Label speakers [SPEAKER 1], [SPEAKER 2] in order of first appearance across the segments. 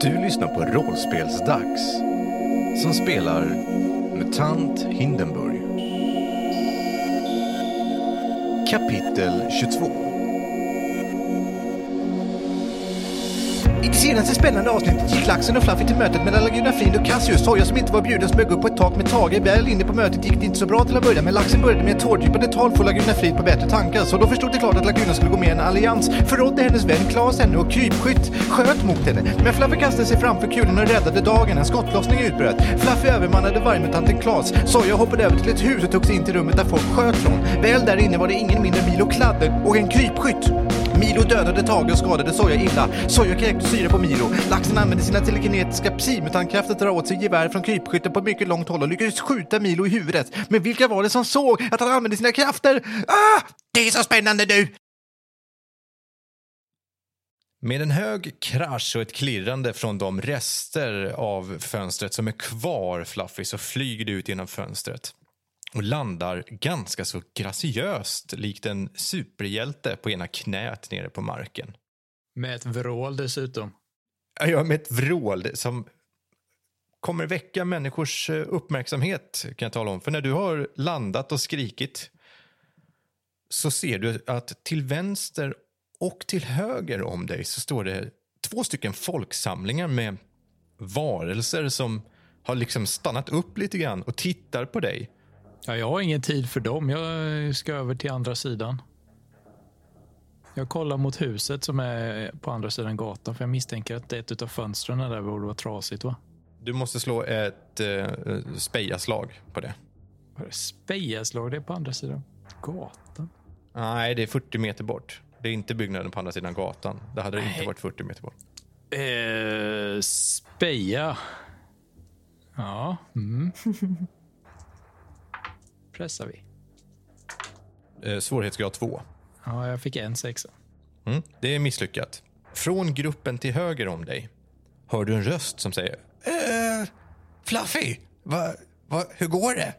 [SPEAKER 1] Du lyssnar på Rollspelsdags som spelar MUTANT Hindenburg. Kapitel 22.
[SPEAKER 2] I det senaste spännande avsnittet gick Laxen och Fluffy till mötet mellan Laguna Frid och Cassius. Soja som inte var bjuden smög upp på ett tak med Tage. Väl inne på mötet gick det inte så bra till att börja men Laxen började med ett tårdrypande tal för Laguna Frid på bättre tankar. Så då förstod det klart att Laguna skulle gå med i en allians. Förrådde hennes vän Klas henne och krypskytt sköt mot henne. Men Fluffy kastade sig framför kulan och räddade dagen. En skottlossning utbröt. Fluffy övermannade vargmutanten Klas. Soja hoppade över till ett hus och tog sig in till rummet där folk sköt från. Väl där inne var det ingen mindre än Milo Kladde och en krypskytt. Milo dödade Tage och skadade Soja illa. Soja kräkte syre på Milo. Laxen använde sina telekinetiska psymutankrafter att dra åt sig gevär från krypskytten på mycket långt håll och lyckades skjuta Milo i huvudet. Men vilka var det som såg att han använde sina krafter? Ah! Det är så spännande du!
[SPEAKER 1] Med en hög krasch och ett klirrande från de rester av fönstret som är kvar Fluffy så flyger du ut genom fönstret och landar ganska så graciöst likt en superhjälte på ena knät nere på marken.
[SPEAKER 3] Med ett vrål dessutom.
[SPEAKER 1] Jag gör med ett vrål som kommer väcka människors eh, uppmärksamhet kan jag tala om. För när du har landat och skrikit så ser du att till vänster och till höger om dig så står det två stycken folksamlingar med varelser som har liksom stannat upp lite grann och tittar på dig.
[SPEAKER 3] Ja, jag har ingen tid för dem. Jag ska över till andra sidan. Jag kollar mot huset som är på andra sidan gatan för jag misstänker att ett av fönstren där borde vara trasigt. va?
[SPEAKER 1] Du måste slå ett eh, spejaslag på det.
[SPEAKER 3] Vad är det? Spejaslag? Det är på andra sidan gatan.
[SPEAKER 1] Nej, det är 40 meter bort. Det är inte byggnaden på andra sidan gatan. Det hade inte varit 40 meter bort.
[SPEAKER 3] Eh, speja. Ja. Mm. Pressar vi.
[SPEAKER 1] Eh, svårighetsgrad 2.
[SPEAKER 3] Ja, jag fick en sexa.
[SPEAKER 1] Mm, det är misslyckat. Från gruppen till höger om dig hör du en röst som säger eh, Fluffy, va, va, hur går det?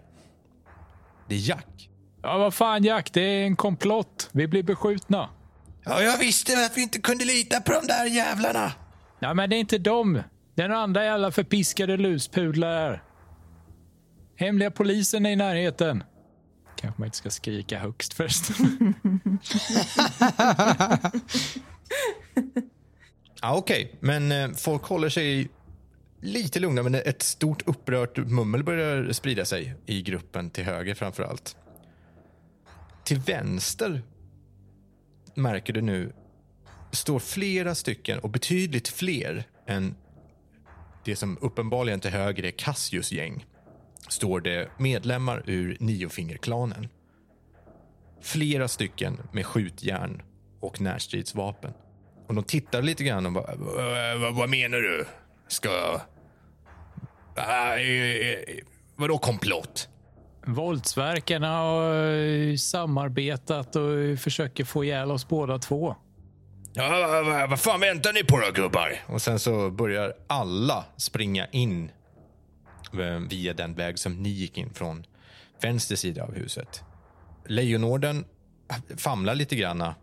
[SPEAKER 1] Det är Jack.
[SPEAKER 3] Ja, vad fan Jack, det är en komplott. Vi blir beskjutna.
[SPEAKER 1] Ja, jag visste att vi inte kunde lita på de där jävlarna.
[SPEAKER 3] Nej, men det är inte dem. Det är några andra jävla förpiskade luspudlar här. Hemliga polisen är i närheten. Kanske man inte ska skrika högst först.
[SPEAKER 1] Ja, Okej, men eh, folk håller sig lite lugna men ett stort upprört mummel börjar sprida sig i gruppen till höger framför allt. Till vänster märker du nu står flera stycken och betydligt fler än det som uppenbarligen till höger är Cassius gäng. Står det medlemmar ur Niofingerklanen. Flera stycken med skjutjärn och närstridsvapen. Och de tittar lite grann och bara, "Eh, vad, vad menar du? Ska jag... Ah, eh, eh, vadå komplott?
[SPEAKER 3] Våldsverkarna har eh, samarbetat och försöker få ihjäl oss båda två.
[SPEAKER 1] Ja, vad, vad, vad fan väntar ni på då gubbar? Och sen så börjar alla springa in eh, via den väg som ni gick in från vänster sida av huset. Lejonorden famlar lite grann eh,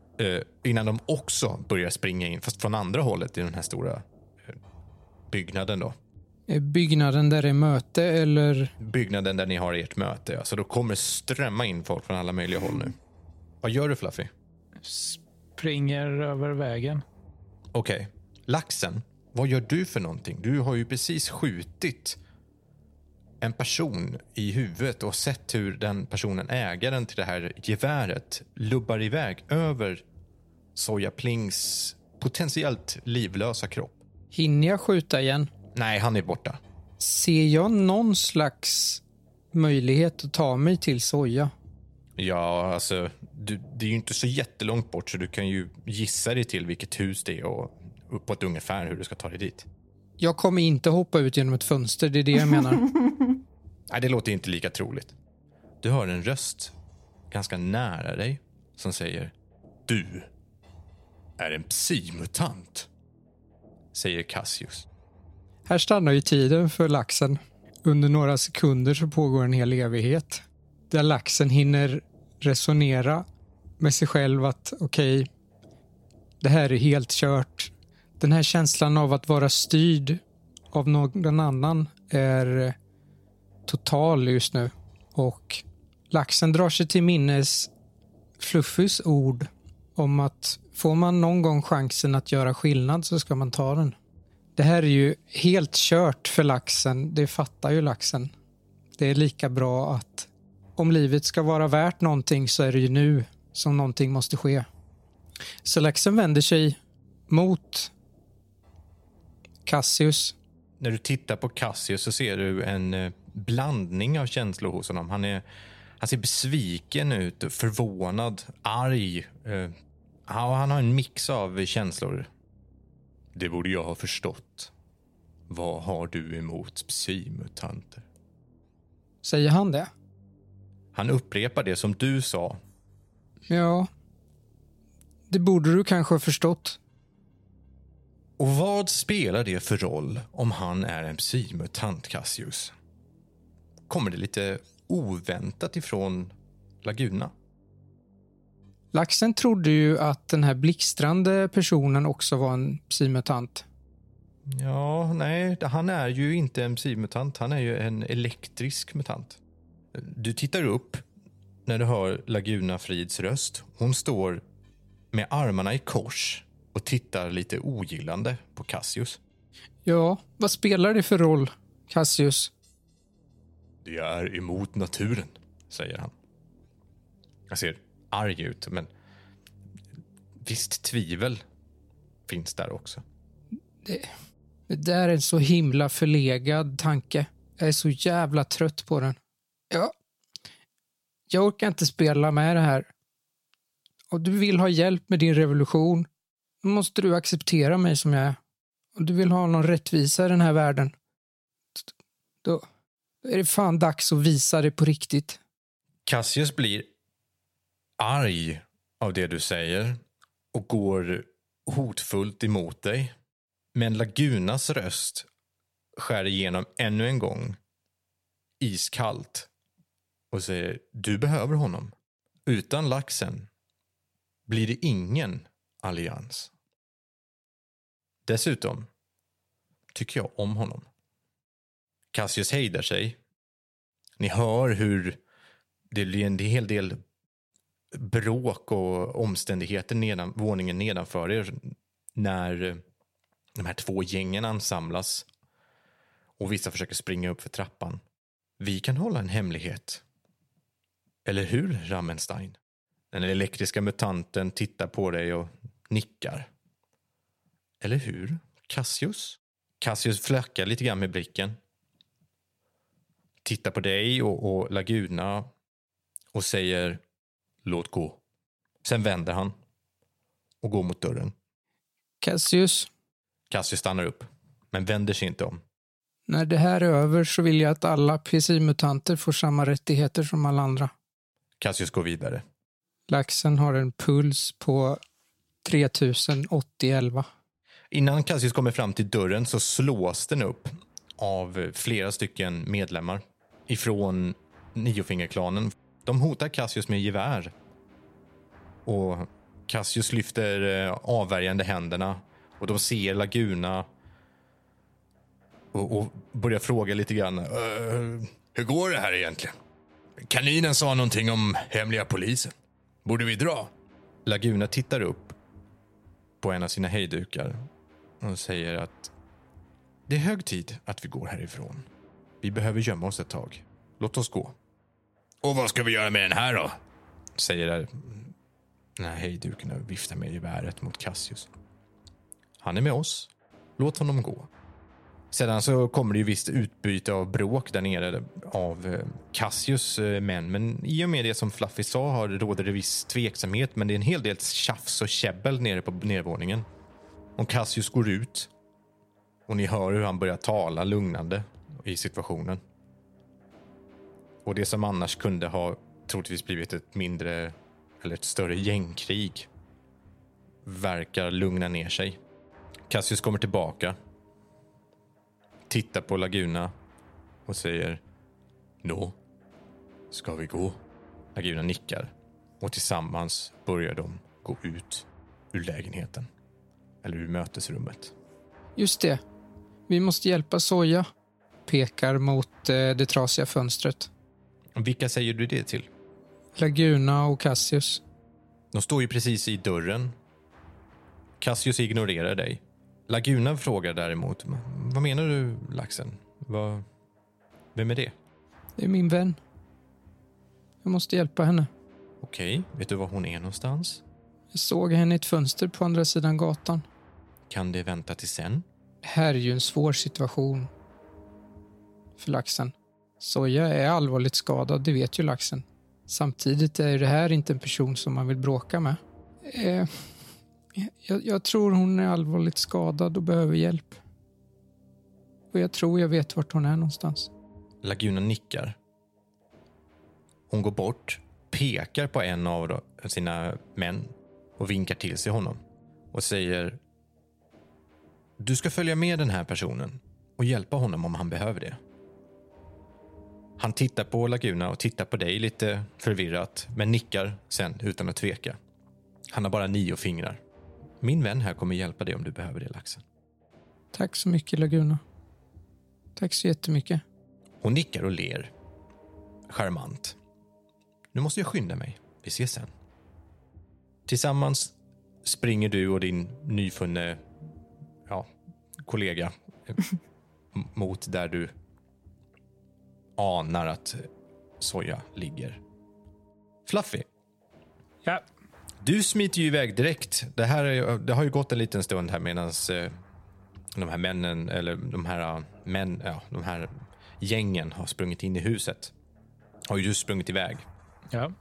[SPEAKER 1] innan de också börjar springa in, fast från andra hållet i den här stora eh, byggnaden då.
[SPEAKER 4] Är byggnaden där det är möte eller?
[SPEAKER 1] byggnaden där ni har ert möte. ja. Så då kommer strömma in folk från alla möjliga håll nu. Vad gör du Fluffy?
[SPEAKER 3] Springer över vägen.
[SPEAKER 1] Okej, laxen. Vad gör du för någonting? Du har ju precis skjutit en person i huvudet och sett hur den personen, ägaren till det här geväret, lubbar iväg över Soja Plings potentiellt livlösa kropp.
[SPEAKER 4] Hinner jag skjuta igen?
[SPEAKER 1] Nej, han är borta.
[SPEAKER 4] Ser jag någon slags möjlighet att ta mig till soja?
[SPEAKER 1] Ja, alltså, du, det är ju inte så jättelångt bort så du kan ju gissa dig till vilket hus det är och på ett ungefär hur du ska ta dig dit.
[SPEAKER 4] Jag kommer inte hoppa ut genom ett fönster, det är det jag menar.
[SPEAKER 1] Nej, det låter inte lika troligt. Du hör en röst ganska nära dig som säger Du är en psymutant, säger Cassius.
[SPEAKER 4] Här stannar ju tiden för laxen. Under några sekunder så pågår en hel evighet. Där laxen hinner resonera med sig själv att okej, det här är helt kört. Den här känslan av att vara styrd av någon annan är total just nu. Och laxen drar sig till minnes Fluffys ord om att får man någon gång chansen att göra skillnad så ska man ta den. Det här är ju helt kört för laxen, det fattar ju laxen. Det är lika bra att om livet ska vara värt någonting så är det ju nu som någonting måste ske. Så laxen vänder sig mot Cassius.
[SPEAKER 1] När du tittar på Cassius så ser du en eh, blandning av känslor hos honom. Han, är, han ser besviken ut, förvånad, arg. Eh, han han har en mix av känslor. Det borde jag ha förstått. Vad har du emot psymutanter?
[SPEAKER 4] Säger han det?
[SPEAKER 1] Han upprepar det som du sa.
[SPEAKER 4] Ja. Det borde du kanske ha förstått.
[SPEAKER 1] Och vad spelar det för roll om han är en psymutant, Cassius? Kommer det lite oväntat ifrån Laguna?
[SPEAKER 4] Laxen trodde ju att den här blixtrande personen också var en psymutant.
[SPEAKER 1] Ja, nej, han är ju inte en psymutant. Han är ju en elektrisk mutant. Du tittar upp när du hör Laguna Frids röst. Hon står med armarna i kors och tittar lite ogillande på Cassius.
[SPEAKER 4] Ja, vad spelar det för roll, Cassius?
[SPEAKER 1] Det är emot naturen, säger han. Jag ser arg ut, men visst tvivel finns där också.
[SPEAKER 4] Det där är en så himla förlegad tanke. Jag är så jävla trött på den. Ja. Jag orkar inte spela med det här. Om du vill ha hjälp med din revolution, då måste du acceptera mig som jag är. Om du vill ha någon rättvisa i den här världen, då då är det fan dags att visa det på riktigt.
[SPEAKER 1] Cassius blir arg av det du säger och går hotfullt emot dig. Men Lagunas röst skär igenom ännu en gång iskallt och säger du behöver honom. Utan laxen blir det ingen allians. Dessutom tycker jag om honom. Cassius hejdar sig. Ni hör hur det blir en hel del bråk och omständigheter nedan, våningen nedanför er när de här två gängen ansamlas och vissa försöker springa upp för trappan. Vi kan hålla en hemlighet. Eller hur, Ramenstein? Den elektriska mutanten tittar på dig och nickar. Eller hur, Cassius? Cassius flackar lite grann med blicken tittar på dig och, och Laguna och säger låt gå. Sen vänder han och går mot dörren.
[SPEAKER 4] Cassius,
[SPEAKER 1] Cassius stannar upp, men vänder sig inte om.
[SPEAKER 4] när det här är över så vill jag att alla PC-mutanter får samma rättigheter som alla andra.
[SPEAKER 1] Cassius går vidare.
[SPEAKER 4] Laxen har en puls på 3080
[SPEAKER 1] Innan Cassius kommer fram till dörren så slås den upp av flera stycken medlemmar ifrån Niofingerklanen. De hotar Cassius med gevär. Och Cassius lyfter eh, avvärjande händerna och de ser Laguna och, och börjar fråga lite grann. "Eh, hur går det här egentligen? Kaninen sa någonting om hemliga polisen. Borde vi dra? Laguna tittar upp på en av sina hejdukar och säger att det är hög tid att vi går härifrån. Vi behöver gömma oss ett tag. Låt oss gå. Och vad ska vi göra med den här då? Säger där- den här hejduken och viftar med geväret mot Cassius. Han är med oss. Låt honom gå. Sedan så kommer det ju visst utbyte av bråk där nere av eh, Cassius eh, män. Men i och med det som Fluffy sa har råder det viss tveksamhet. Men det är en hel del tjafs och käbbel nere på nedervåningen. Och Cassius går ut. Och ni hör hur han börjar tala lugnande i situationen. Och det som annars kunde ha troligtvis blivit ett mindre eller ett större gängkrig verkar lugna ner sig. Cassius kommer tillbaka tittar på Laguna och säger Nå, ska vi gå? Laguna nickar och tillsammans börjar de gå ut ur lägenheten. Eller ur mötesrummet.
[SPEAKER 4] Just det. Vi måste hjälpa Soja. Pekar mot eh, det trasiga fönstret.
[SPEAKER 1] Vilka säger du det till?
[SPEAKER 4] Laguna och Cassius.
[SPEAKER 1] De står ju precis i dörren. Cassius ignorerar dig. Laguna frågar däremot. Vad menar du, laxen? Vad... Vem är det?
[SPEAKER 4] Det är min vän. Jag måste hjälpa henne.
[SPEAKER 1] Okej, vet du var hon är någonstans?
[SPEAKER 4] Jag såg henne i ett fönster på andra sidan gatan.
[SPEAKER 1] Kan det vänta till sen?
[SPEAKER 4] här är ju en svår situation för laxen. Soja är allvarligt skadad, det vet ju laxen. Samtidigt är det här inte en person som man vill bråka med. Eh, jag, jag tror hon är allvarligt skadad och behöver hjälp. Och jag tror jag vet vart hon är någonstans.
[SPEAKER 1] Laguna nickar. Hon går bort, pekar på en av då- sina män och vinkar till sig honom och säger Du ska följa med den här personen och hjälpa honom om han behöver det. Han tittar på Laguna och tittar på dig lite förvirrat men nickar sen utan att tveka. Han har bara nio fingrar. Min vän här kommer hjälpa dig om du behöver det, laxen.
[SPEAKER 4] Tack så mycket Laguna. Tack så jättemycket.
[SPEAKER 1] Hon nickar och ler. Charmant. Nu måste jag skynda mig. Vi ses sen. Tillsammans springer du och din nyfunne ja, kollega eh, m- mot där du anar att Soja ligger. Fluffy,
[SPEAKER 3] Ja.
[SPEAKER 1] du smiter ju iväg direkt. Det, här är, ju- det har ju gått en liten stund här medan eh, de här männen, eller de här, eh, män, ja, de här gängen har sprungit in i huset. Har ju just sprungit iväg.
[SPEAKER 3] ja.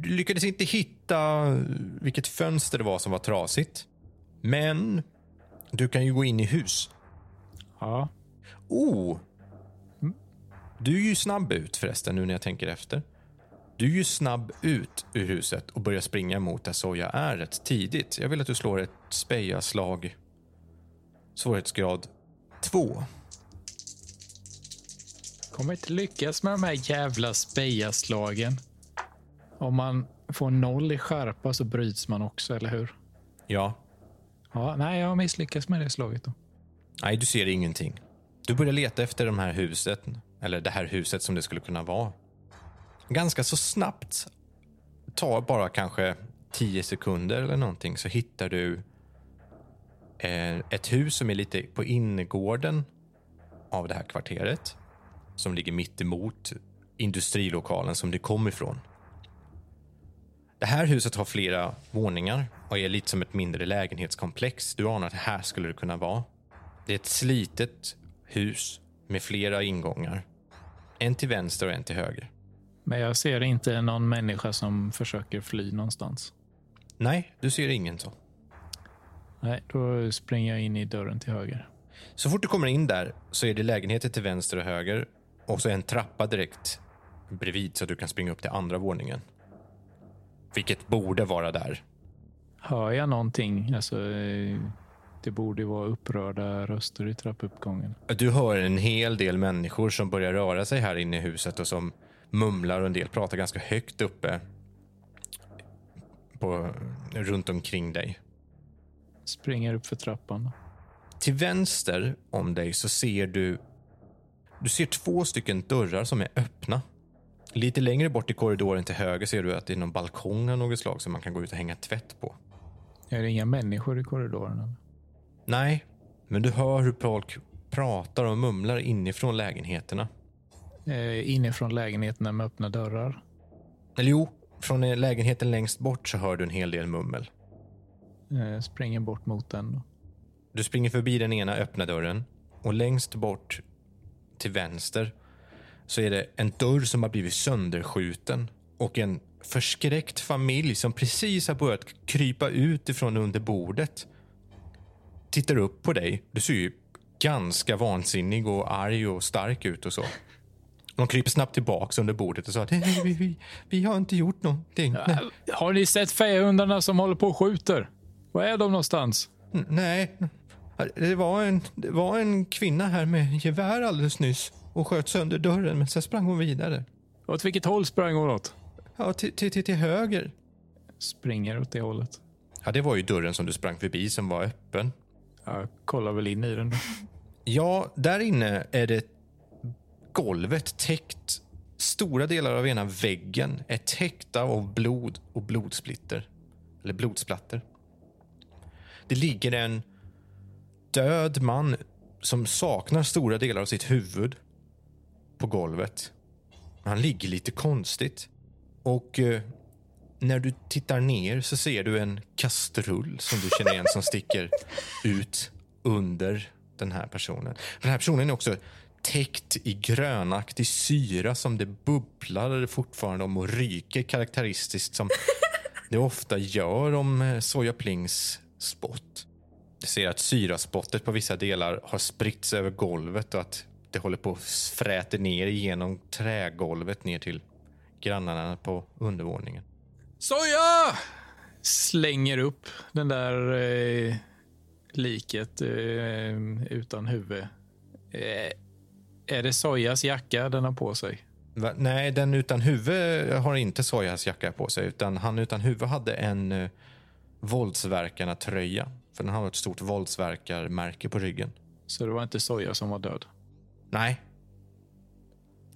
[SPEAKER 1] Du lyckades inte hitta eh, vilket fönster det var som var trasigt. Men du kan ju gå in i hus.
[SPEAKER 3] Ja.
[SPEAKER 1] Oh! Du är ju snabb ut förresten, nu när jag tänker efter. Du är ju snabb ut ur huset och börjar springa mot där Soja är rätt tidigt. Jag vill att du slår ett spejaslag. Svårighetsgrad 2.
[SPEAKER 3] Kommer inte lyckas med de här jävla spejaslagen. Om man får noll i skärpa så bryts man också, eller hur?
[SPEAKER 1] Ja.
[SPEAKER 3] Ja, nej, jag har misslyckats med det slaget då.
[SPEAKER 1] Nej, du ser ingenting. Du börjar leta efter de här huset, eller det här huset som det skulle kunna vara. Ganska så snabbt, tar bara kanske 10 sekunder eller någonting, så hittar du eh, ett hus som är lite på innergården av det här kvarteret. Som ligger mitt emot industrilokalen som det kom ifrån. Det här huset har flera våningar och är lite som ett mindre lägenhetskomplex. Du anar att här skulle det kunna vara. Det är ett slitet hus med flera ingångar. En till vänster och en till höger.
[SPEAKER 3] Men jag ser inte någon människa som försöker fly någonstans.
[SPEAKER 1] Nej, du ser ingen så.
[SPEAKER 3] Nej, då springer jag in i dörren till höger.
[SPEAKER 1] Så fort du kommer in där så är det lägenheter till vänster och höger och så en trappa direkt bredvid så att du kan springa upp till andra våningen. Vilket borde vara där.
[SPEAKER 3] Hör jag någonting? Alltså, eh, det borde ju vara upprörda röster i trappuppgången.
[SPEAKER 1] Du hör en hel del människor som börjar röra sig här inne i huset och som mumlar och en del pratar ganska högt uppe på, runt omkring dig.
[SPEAKER 3] Springer upp för trappan. då.
[SPEAKER 1] Till vänster om dig så ser du... Du ser två stycken dörrar som är öppna. Lite längre bort i korridoren till höger ser du att det är någon balkong av något slag som man kan gå ut och hänga tvätt på.
[SPEAKER 3] Är det inga människor i korridoren? Eller?
[SPEAKER 1] Nej, men du hör hur folk pratar och mumlar inifrån lägenheterna.
[SPEAKER 3] Eh, inifrån lägenheterna med öppna dörrar.
[SPEAKER 1] Eller jo, från eh, lägenheten längst bort så hör du en hel del mummel.
[SPEAKER 3] Eh, springer bort mot den. Då.
[SPEAKER 1] Du springer förbi den ena öppna dörren och längst bort till vänster så är det en dörr som har blivit sönderskjuten och en förskräckt familj som precis har börjat krypa ut ifrån under bordet tittar upp på dig. Du ser ju ganska vansinnig och arg och stark ut och så. De kryper snabbt tillbaks under bordet och sa att "Nej, vi, vi, vi har inte gjort någonting. Nej.
[SPEAKER 3] Har ni sett fejhundarna som håller på och skjuter? Var är de någonstans?
[SPEAKER 1] N- Nej. Det var, en, det var en kvinna här med gevär alldeles nyss och sköt sönder dörren, men sen sprang hon vidare.
[SPEAKER 3] Åt vilket håll sprang hon åt?
[SPEAKER 1] Ja, till, till, till, till höger.
[SPEAKER 3] Springer åt det hållet.
[SPEAKER 1] Ja, det var ju dörren som du sprang förbi som var öppen.
[SPEAKER 3] Jag kollar väl in i den. då.
[SPEAKER 1] Ja, där inne är det golvet täckt. Stora delar av ena väggen är täckta av blod och blodsplitter. Eller blodsplatter. Det ligger en död man som saknar stora delar av sitt huvud på golvet. Han ligger lite konstigt. Och eh, när du tittar ner så ser du en kastrull som du känner igen som sticker ut under den här personen. Den här personen är också täckt i grönaktig syra som det bubblar fortfarande om och ryker karaktäristiskt som det ofta gör om eh, Soja Plings spott. Du ser att syraspottet på vissa delar har spritts över golvet och att det håller på att fräter ner genom trägolvet ner till grannarna på undervåningen.
[SPEAKER 3] Soja! Slänger upp den där eh, liket eh, utan huvud. Eh, är det Sojas jacka den har på sig?
[SPEAKER 1] Va? Nej, den utan huvud har inte Sojas jacka på sig. Utan han utan huvud hade en uh, våldsverkarna-tröja. För den har ett stort våldsverkarmärke på ryggen.
[SPEAKER 3] Så det var inte Soja som var död.
[SPEAKER 1] Nej.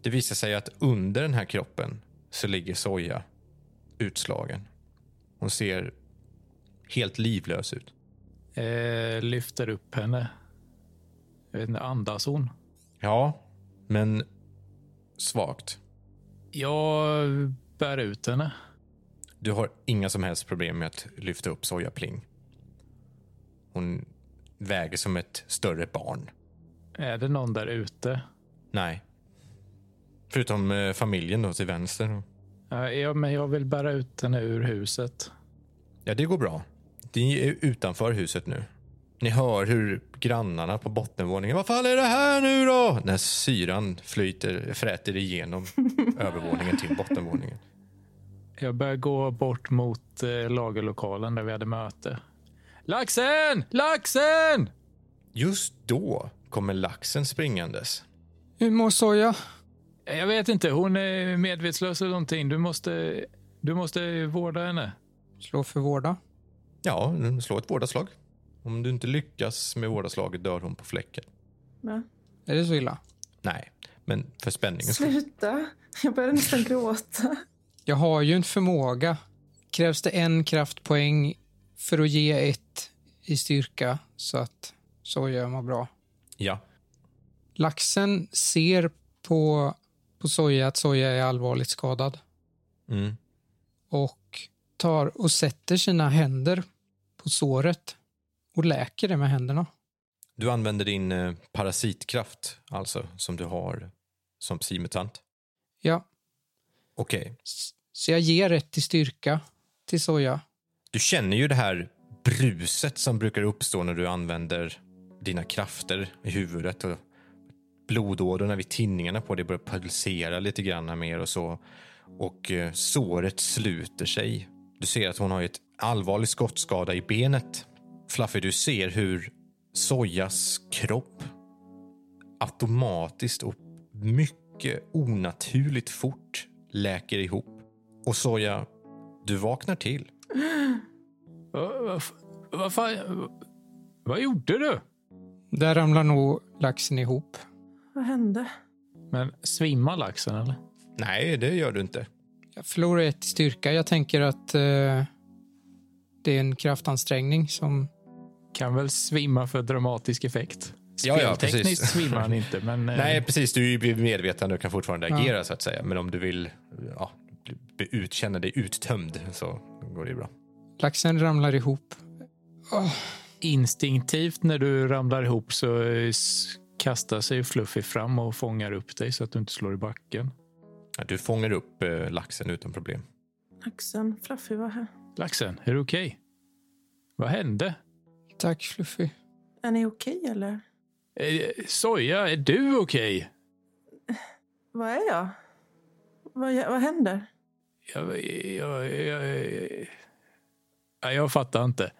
[SPEAKER 1] Det visar sig att under den här kroppen så ligger Soja utslagen. Hon ser helt livlös ut.
[SPEAKER 3] Eh, lyfter upp henne. Jag vet inte, andas hon?
[SPEAKER 1] Ja, men svagt.
[SPEAKER 3] Jag bär ut henne.
[SPEAKER 1] Du har inga som helst problem med att lyfta upp Soja Pling. Hon väger som ett större barn.
[SPEAKER 3] Är det någon där ute?
[SPEAKER 1] Nej. Förutom eh, familjen då till vänster.
[SPEAKER 3] Eh, ja, men jag vill bära ut henne ur huset.
[SPEAKER 1] Ja, det går bra. Ni är utanför huset nu. Ni hör hur grannarna på bottenvåningen. Vad fan är det här nu då? När syran flyter, fräter igenom övervåningen till bottenvåningen.
[SPEAKER 3] Jag börjar gå bort mot eh, lagerlokalen där vi hade möte. Laxen! Laxen!
[SPEAKER 1] Just då kommer laxen springandes.
[SPEAKER 4] Hur mår Soja?
[SPEAKER 3] Eh, Jag vet inte, hon är medvetslös eller någonting. Du måste, du måste vårda henne.
[SPEAKER 4] Slå för vårda.
[SPEAKER 1] Ja, slå ett vårdaslag. Om du inte lyckas med vårdaslaget dör hon på fläcken.
[SPEAKER 5] Va?
[SPEAKER 4] Är det så illa?
[SPEAKER 1] Nej, men för spänningen skull.
[SPEAKER 5] Sluta. Jag började nästan gråta.
[SPEAKER 4] Jag har ju en förmåga. Krävs det en kraftpoäng för att ge ett i styrka så att så gör man bra.
[SPEAKER 1] Ja.
[SPEAKER 4] Laxen ser på, på Soja att Soja är allvarligt skadad
[SPEAKER 1] Mm.
[SPEAKER 4] och tar och sätter sina händer på såret och läker det med händerna.
[SPEAKER 1] Du använder din eh, parasitkraft, alltså, som du har som psimutant.
[SPEAKER 4] Ja,
[SPEAKER 1] Okej.
[SPEAKER 4] s- så jag ger ett i styrka till Soja.
[SPEAKER 1] Du känner ju det här bruset som brukar uppstå när du använder dina krafter i huvudet. Och blodådrorna vid tinningarna på dig börjar pulsera lite grann mer och så. Och eh, såret sluter sig. Du ser att hon har ett allvarlig skottskada i benet. Fluffy, du ser hur Sojas kropp automatiskt och mycket onaturligt fort läker ihop. Och Soja, du vaknar till.
[SPEAKER 3] Vad va, va fan... Vad gjorde du?
[SPEAKER 4] Där ramlar nog laxen ihop.
[SPEAKER 5] Vad hände?
[SPEAKER 3] Men svimmar laxen eller?
[SPEAKER 1] Nej, det gör du inte.
[SPEAKER 4] Jag förlorar ett i styrka. Jag tänker att eh, det är en kraftansträngning som...
[SPEAKER 3] Kan väl svimma för dramatisk effekt.
[SPEAKER 1] Ja, ja,
[SPEAKER 3] Speltekniskt
[SPEAKER 1] precis.
[SPEAKER 3] svimmar han inte, men... eh,
[SPEAKER 1] Nej, precis. Du är ju medveten och kan fortfarande
[SPEAKER 4] Ja.
[SPEAKER 1] agera så att säga. Men om du vill ja, bli- ut, känna dig uttömd så går det ju bra.
[SPEAKER 4] Laxen ramlar ihop. Åh,
[SPEAKER 3] instinktivt när du ramlar ihop så eh, s- kastar sig Fluffy fram och fångar upp dig så att du inte slår i backen.
[SPEAKER 1] Ja, Du fångar upp eh, laxen utan problem.
[SPEAKER 5] Laxen, Fluffy var här.
[SPEAKER 3] Laxen, är du okej? Vad hände?
[SPEAKER 4] tack Fluffy.
[SPEAKER 5] Är ni okej eller?
[SPEAKER 3] Eh, Soja, är du okej?
[SPEAKER 5] Vad är jag? Vad, vad händer?
[SPEAKER 3] Jag, jag, jag, jag, Nej, jag fattar inte.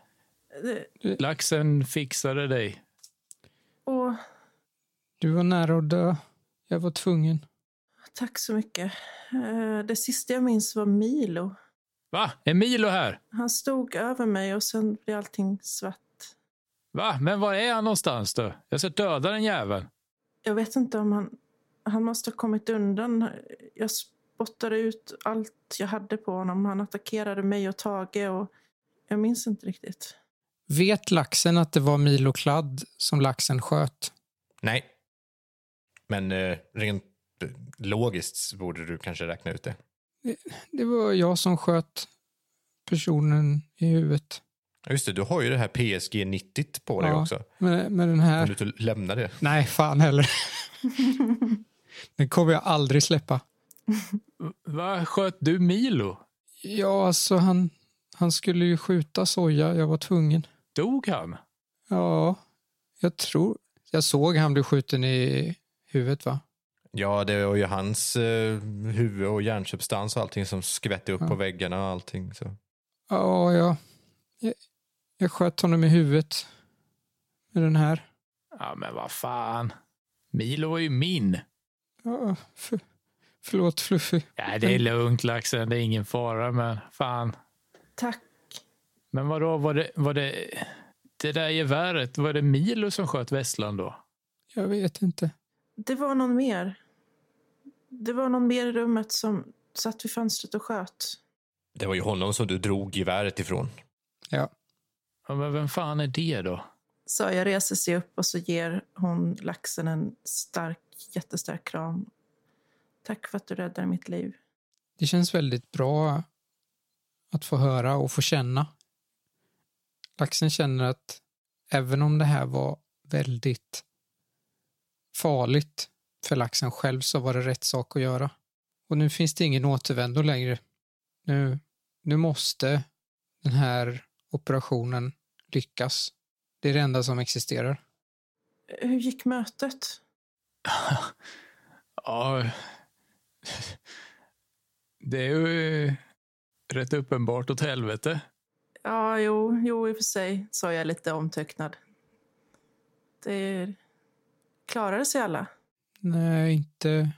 [SPEAKER 5] Det-
[SPEAKER 3] Laxen fixade dig.
[SPEAKER 5] Åh,
[SPEAKER 4] Du var nära att dö. Jag var tvungen.
[SPEAKER 5] tack så mycket. Eh, Det sista jag minns var Milo.
[SPEAKER 3] Va? Emilio här?
[SPEAKER 5] Han stod över mig och sen blev allting svart.
[SPEAKER 3] Va? Men var är han någonstans då? Jag ska döda den jäveln.
[SPEAKER 5] Jag vet inte om han... Han måste ha kommit undan. Jag spottade ut allt jag hade på honom. Han attackerade mig och Tage och... Jag minns inte riktigt.
[SPEAKER 4] Vet laxen att det var Milo Kladd som laxen sköt?
[SPEAKER 1] Nej. Men eh, rent eh, logiskt så borde du kanske räkna ut det.
[SPEAKER 4] Det var jag som sköt personen i huvudet.
[SPEAKER 1] Ja, Just det, du har ju det här PSG 90 på dig
[SPEAKER 4] Ja.
[SPEAKER 1] också.
[SPEAKER 4] Med, med den
[SPEAKER 1] Om
[SPEAKER 4] här.
[SPEAKER 1] du inte lämnar det.
[SPEAKER 4] Nej, fan heller. den kommer jag aldrig släppa.
[SPEAKER 3] Va? Sköt du Milo?
[SPEAKER 4] Ja, alltså han, han skulle ju skjuta soja. Jag var tvungen.
[SPEAKER 3] Dog han?
[SPEAKER 4] Ja, jag tror... Jag såg han bli skjuten i huvudet, va?
[SPEAKER 1] Ja, det var ju hans eh, huvud och hjärnsubstans och allting som skvätte upp
[SPEAKER 4] Ja.
[SPEAKER 1] på väggarna och allting. Så.
[SPEAKER 4] Ja, jag, jag, jag sköt honom i huvudet med den här.
[SPEAKER 3] Ja, men vad fan. Milo var ju min.
[SPEAKER 4] Ja, för, förlåt, Fluffy.
[SPEAKER 3] Ja, det är lugnt laxen, det är ingen fara, men fan.
[SPEAKER 5] Tack.
[SPEAKER 3] Men vadå, var det, var det, det där geväret, var det Milo som sköt Vesslan då?
[SPEAKER 4] Jag vet inte.
[SPEAKER 5] Det var någon mer. Det var någon mer i rummet som satt vid fönstret och sköt.
[SPEAKER 1] Det var ju honom som du drog geväret ifrån.
[SPEAKER 4] Ja.
[SPEAKER 3] Ja, men vem fan är det då?
[SPEAKER 5] Så jag reser sig upp och så ger hon laxen en stark, jättestark kram. Tack för att du räddade mitt liv.
[SPEAKER 4] Det känns väldigt bra att få höra och få känna. Laxen känner att även om det här var väldigt farligt för laxen själv så var det rätt sak att göra. Och nu finns det ingen återvändo längre. Nu, nu måste den här operationen lyckas. Det är det enda som existerar.
[SPEAKER 5] Hur gick mötet?
[SPEAKER 3] Ja, det är ju rätt uppenbart åt helvete.
[SPEAKER 5] Ja, jo, jo i och för sig, sa jag lite omtöcknad. Det är... klarade sig alla.
[SPEAKER 4] Nej, inte,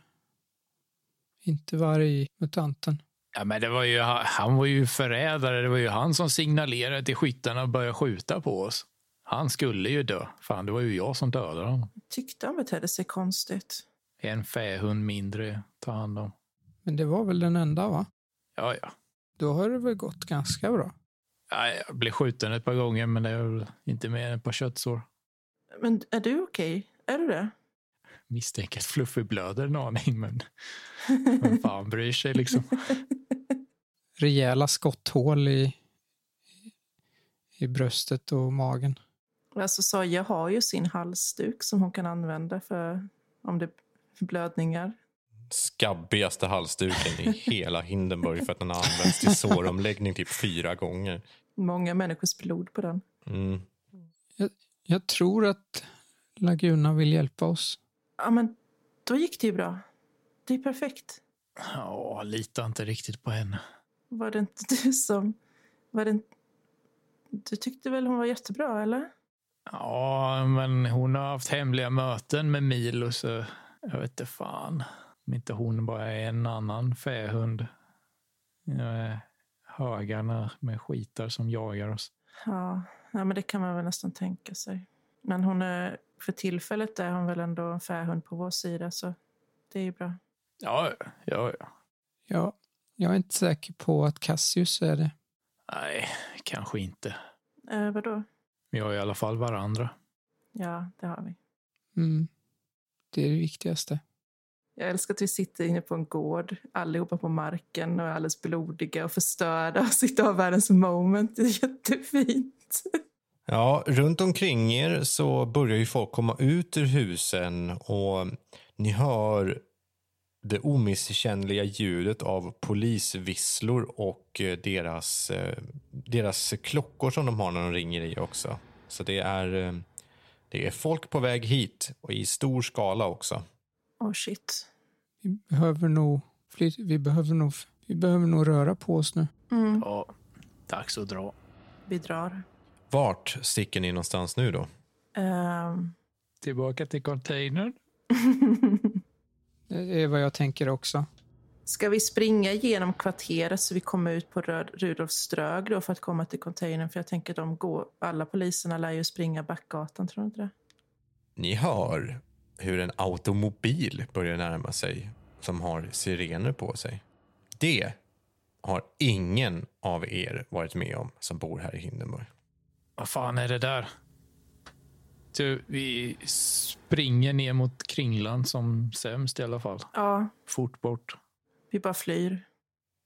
[SPEAKER 4] inte vargmutanten.
[SPEAKER 3] Ja, men det var ju, han- han var ju förrädare. Det var ju han som signalerade till skyttarna att börja skjuta på oss. Han skulle ju dö. Fan, det var ju jag som dödade honom.
[SPEAKER 5] Tyckte han betedde sig konstigt.
[SPEAKER 3] En fähund mindre ta hand om.
[SPEAKER 4] Men det var väl den enda va?
[SPEAKER 3] Ja, ja.
[SPEAKER 4] Då har det väl gått ganska bra.
[SPEAKER 3] Ja, Jag blev skjuten ett par gånger, men det är väl inte mer än ett par köttsår.
[SPEAKER 5] Men är du okej? Är du det?
[SPEAKER 3] Misstänker att Fluffy blöder en aning, men vem fan bryr sig liksom?
[SPEAKER 4] rejäla skotthål i, i bröstet och magen.
[SPEAKER 5] Alltså Soja har ju sin halsduk som hon kan använda för om det för blödningar.
[SPEAKER 1] Skabbigaste halsduken i hela Hindenburg för att den har använts till såromläggning typ fyra gånger.
[SPEAKER 5] Många människors blod på den.
[SPEAKER 1] Mm.
[SPEAKER 4] Jag tror att Laguna vill hjälpa oss.
[SPEAKER 5] Ja, men då gick det ju bra. Det är perfekt.
[SPEAKER 3] Ja, litar inte riktigt på henne.
[SPEAKER 5] Var det inte du som... Var det inte... Du tyckte väl hon var jättebra, eller?
[SPEAKER 3] Ja, men hon har haft hemliga möten med Milo, så jag vet inte fan. Om inte hon bara är en annan fähund. Eh, Högarna med skitar som jagar oss.
[SPEAKER 5] Ja, ja, men det kan man väl nästan tänka sig. Men hon är, för tillfället är hon väl ändå en fähund på vår sida, så det är ju bra.
[SPEAKER 3] Ja, ja, ja.
[SPEAKER 4] Ja, jag är inte säker på att Cassius är det.
[SPEAKER 3] Nej, kanske inte.
[SPEAKER 5] Eh, vadå?
[SPEAKER 3] Vi har i alla fall varandra.
[SPEAKER 5] Ja, det har vi.
[SPEAKER 4] Mm. Det är det viktigaste.
[SPEAKER 5] Jag älskar att vi sitter inne på en gård, allihopa på marken och är alldeles blodiga och förstörda och sitter och har världens moment. Det är jättefint.
[SPEAKER 1] Ja, runt omkring er så börjar ju folk komma ut ur husen och ni hör det omissigenliga ljudet av polisvisslor och eh, deras, eh, deras klockor som de har när de ringer i också. Så det är, eh, det är folk på väg hit och i stor skala också.
[SPEAKER 5] Åh, Oh, shit.
[SPEAKER 4] Vi behöver nog, flyt, vi behöver nog, vi behöver nog röra på oss nu.
[SPEAKER 5] Mm.
[SPEAKER 3] Ja, dags att dra.
[SPEAKER 5] Vi drar.
[SPEAKER 1] Vart sticker ni någonstans nu då?
[SPEAKER 5] Ehm,
[SPEAKER 3] Tillbaka till containern.
[SPEAKER 4] Det är vad jag tänker också.
[SPEAKER 5] Ska vi springa genom kvarteret så vi kommer ut på Röd- Rudolfsströg då för att komma till containern? För jag tänker de går, alla poliserna lär ju springa backgatan, tror du inte det?
[SPEAKER 1] Ni hör hur en automobil börjar närma sig som har sirener på sig. Det har ingen av er varit med om som bor här i Hindenburg.
[SPEAKER 3] Vad fan är det där? Du, vi springer ner mot kringlan som sämst i alla fall.
[SPEAKER 5] Ja,
[SPEAKER 3] Fort bort.
[SPEAKER 5] vi bara flyr.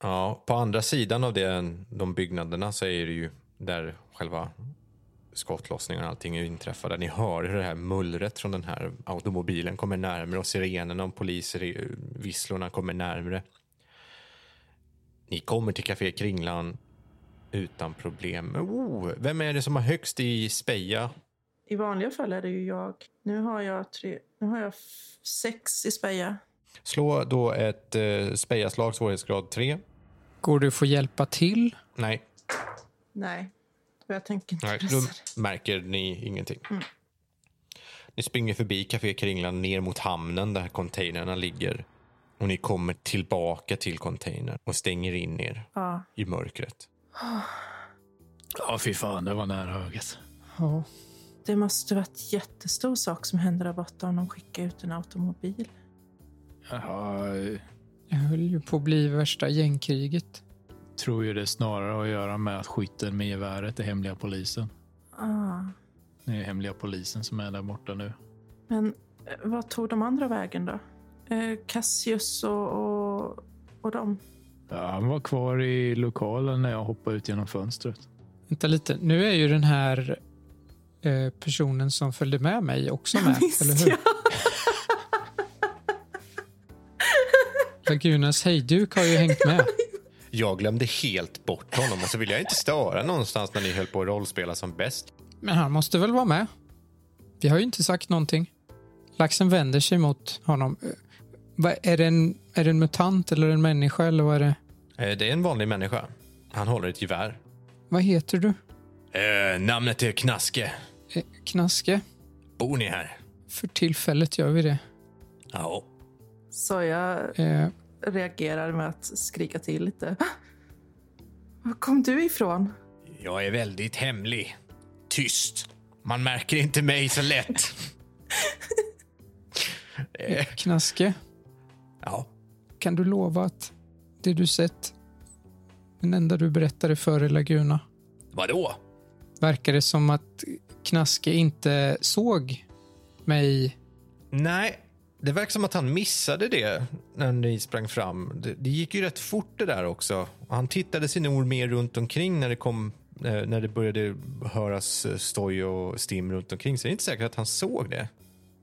[SPEAKER 1] Ja, på andra sidan av den, de byggnaderna så är det ju där själva skottlossningen och allting inträffar. Där ni hör hur det här mullret från den här automobilen kommer närmare och sirenerna och polisvisslorna kommer närmare. Ni kommer till Café Kringlan utan problem. Oh, vem är det som har högst i speja?
[SPEAKER 5] I vanliga fall är det ju jag. Nu har jag, tre, nu har jag f- sex i speja.
[SPEAKER 1] Slå då ett eh, spejaslag svårighetsgrad 3.
[SPEAKER 4] Går du få hjälpa till?
[SPEAKER 1] Nej,
[SPEAKER 5] Nej, och jag tänker inte
[SPEAKER 1] Nej,
[SPEAKER 5] pressa
[SPEAKER 1] då
[SPEAKER 5] det.
[SPEAKER 1] märker ni ingenting. Ni springer förbi Café Kringlan ner mot hamnen där containrarna ligger. Och ni kommer tillbaka till containern och stänger in er
[SPEAKER 5] Ja.
[SPEAKER 1] i mörkret.
[SPEAKER 3] Ja, fy fan, det var nära ögat.
[SPEAKER 4] Ja.
[SPEAKER 5] Det måste vara ett jättestor sak som händer där borta om de skickar ut en automobil.
[SPEAKER 3] Jaha, eh,
[SPEAKER 4] Det höll ju på att bli värsta gängkriget.
[SPEAKER 3] tror ju det snarare har att göra med att skytten med geväret är hemliga polisen.
[SPEAKER 5] Ah.
[SPEAKER 3] Det är hemliga polisen som är där borta nu.
[SPEAKER 5] Men eh, vad tog de andra vägen då? Eh, Cassius och, och, och de?
[SPEAKER 3] Ja, han var kvar i lokalen när jag hoppade ut genom fönstret.
[SPEAKER 4] Vänta lite, nu är ju den här eh, personen som följde med mig också med, eller hur? Lagunas hejduk har ju hängt med.
[SPEAKER 1] Jag glömde helt bort honom och så ville jag inte störa någonstans när ni höll på att rollspela som bäst.
[SPEAKER 4] Men han måste väl vara med? Vi har ju inte sagt någonting. Laxen vänder sig mot honom. Eh, vad- är, det en, är det en mutant eller en människa eller vad är det?
[SPEAKER 1] Eh, Det är en vanlig människa. Han håller ett gevär.
[SPEAKER 4] Vad heter du?
[SPEAKER 1] Eh, namnet är Knaske.
[SPEAKER 4] Eh, Knaske?
[SPEAKER 1] Bor ni här?
[SPEAKER 4] För tillfället gör vi det.
[SPEAKER 1] Ja.
[SPEAKER 5] Så jag
[SPEAKER 4] Eh,
[SPEAKER 5] reagerar med att skrika till lite. "Va? Var kom du ifrån?
[SPEAKER 1] Jag är väldigt hemlig. Tyst. Man märker inte mig så lätt. Eh,
[SPEAKER 4] Knaske,
[SPEAKER 1] ja.
[SPEAKER 4] kan du lova att det du sett, den enda du berättade för är Laguna?
[SPEAKER 1] Vadå?
[SPEAKER 4] Verkar det som att Knaske inte såg mig?
[SPEAKER 1] Nej, det verkar som att han missade det när ni sprang fram. Det, det gick ju rätt fort det där också. Och Han tittade sig nog mer runt omkring när det kom eh, när det började höras eh, stoj och stim runt omkring. Så det är inte säkert att han såg det.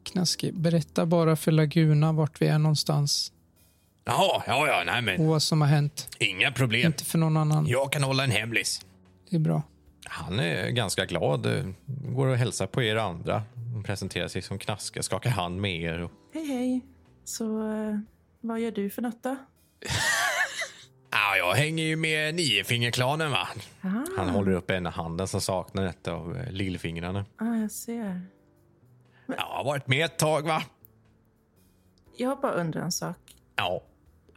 [SPEAKER 4] Knaske, berätta bara för Laguna vart vi är någonstans
[SPEAKER 1] Jaha, ja, ja, nej men
[SPEAKER 4] och vad som har hänt.
[SPEAKER 1] inga problem.
[SPEAKER 4] Inte för någon annan.
[SPEAKER 1] Jag kan hålla en hemlis.
[SPEAKER 4] Det är bra.
[SPEAKER 1] Han är ganska glad. eh, Går och hälsar på er andra. Han presenterar sig som Knaske, skakar hand med er. Och...
[SPEAKER 5] Hej, hej. Så eh, vad gör du för något då?
[SPEAKER 1] Ah, jag hänger ju med Niofingerklanen va?
[SPEAKER 5] Ah,
[SPEAKER 1] Han håller upp ena handen som saknar ett av eh, lillfingrarna.
[SPEAKER 5] ah, jag ser.
[SPEAKER 1] Ja, har varit med ett tag va?
[SPEAKER 5] Jag bara undrar en sak.
[SPEAKER 1] Ja.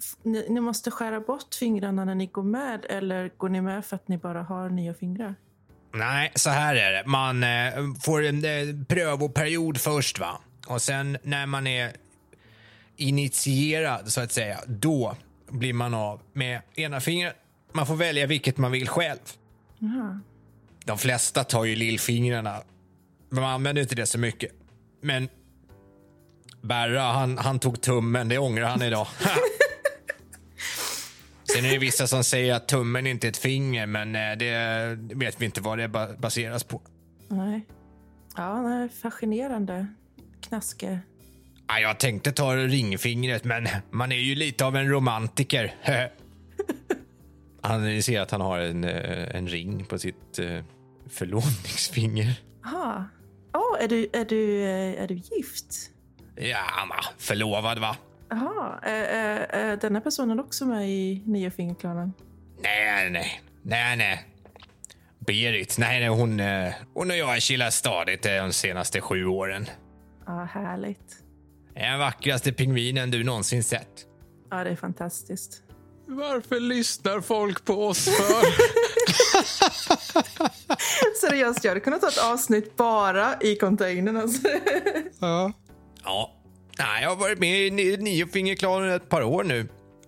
[SPEAKER 5] F- Ni, ni måste skära bort fingrarna när ni går med eller går ni med för att ni bara har nya fingrar?
[SPEAKER 1] Nej, så här är det. Man eh, får en eh, prövoperiod först va? Och sen när man är initierad så att säga, då blir man av med ena fingret. Man får välja vilket man vill själv.
[SPEAKER 5] Jaha.
[SPEAKER 1] De flesta tar ju lillfingrarna. Men man använder inte det så mycket. Men Berra, han, han tog tummen. Det ångrar han idag. Sen är det vissa som säger att tummen inte är ett finger, men eh, det vet vi inte vad det ba- baseras på.
[SPEAKER 5] Nej. Ja, nej, fascinerande. Knaske.
[SPEAKER 1] Ah, Jag tänkte ta ringfingret, men man är ju lite av en romantiker. Han ser att han har en, eh, en ring på sitt eh, förlovningsfinger.
[SPEAKER 5] Jaha. Åh, är, du, är, du, eh, är du gift?
[SPEAKER 1] Ja, ma, förlovad va?
[SPEAKER 5] Jaha. Är, är, är denna personen också med i Niofingerklanen?
[SPEAKER 1] Nej, nej, nej, nej. Berit, nej, nej hon, eh, hon och jag har chillat stadigt eh, de senaste sju åren.
[SPEAKER 5] Ja, härligt.
[SPEAKER 1] Är Den vackraste pingvinen du någonsin sett.
[SPEAKER 5] Ja, det är fantastiskt.
[SPEAKER 3] Varför lyssnar folk på oss för?
[SPEAKER 5] Seriöst, jag hade kunnat ta ett avsnitt bara i containern. Alltså.
[SPEAKER 4] Ja.
[SPEAKER 1] Ja. Nej, jag har varit med i Ni- niofingerklanen ett par år nu.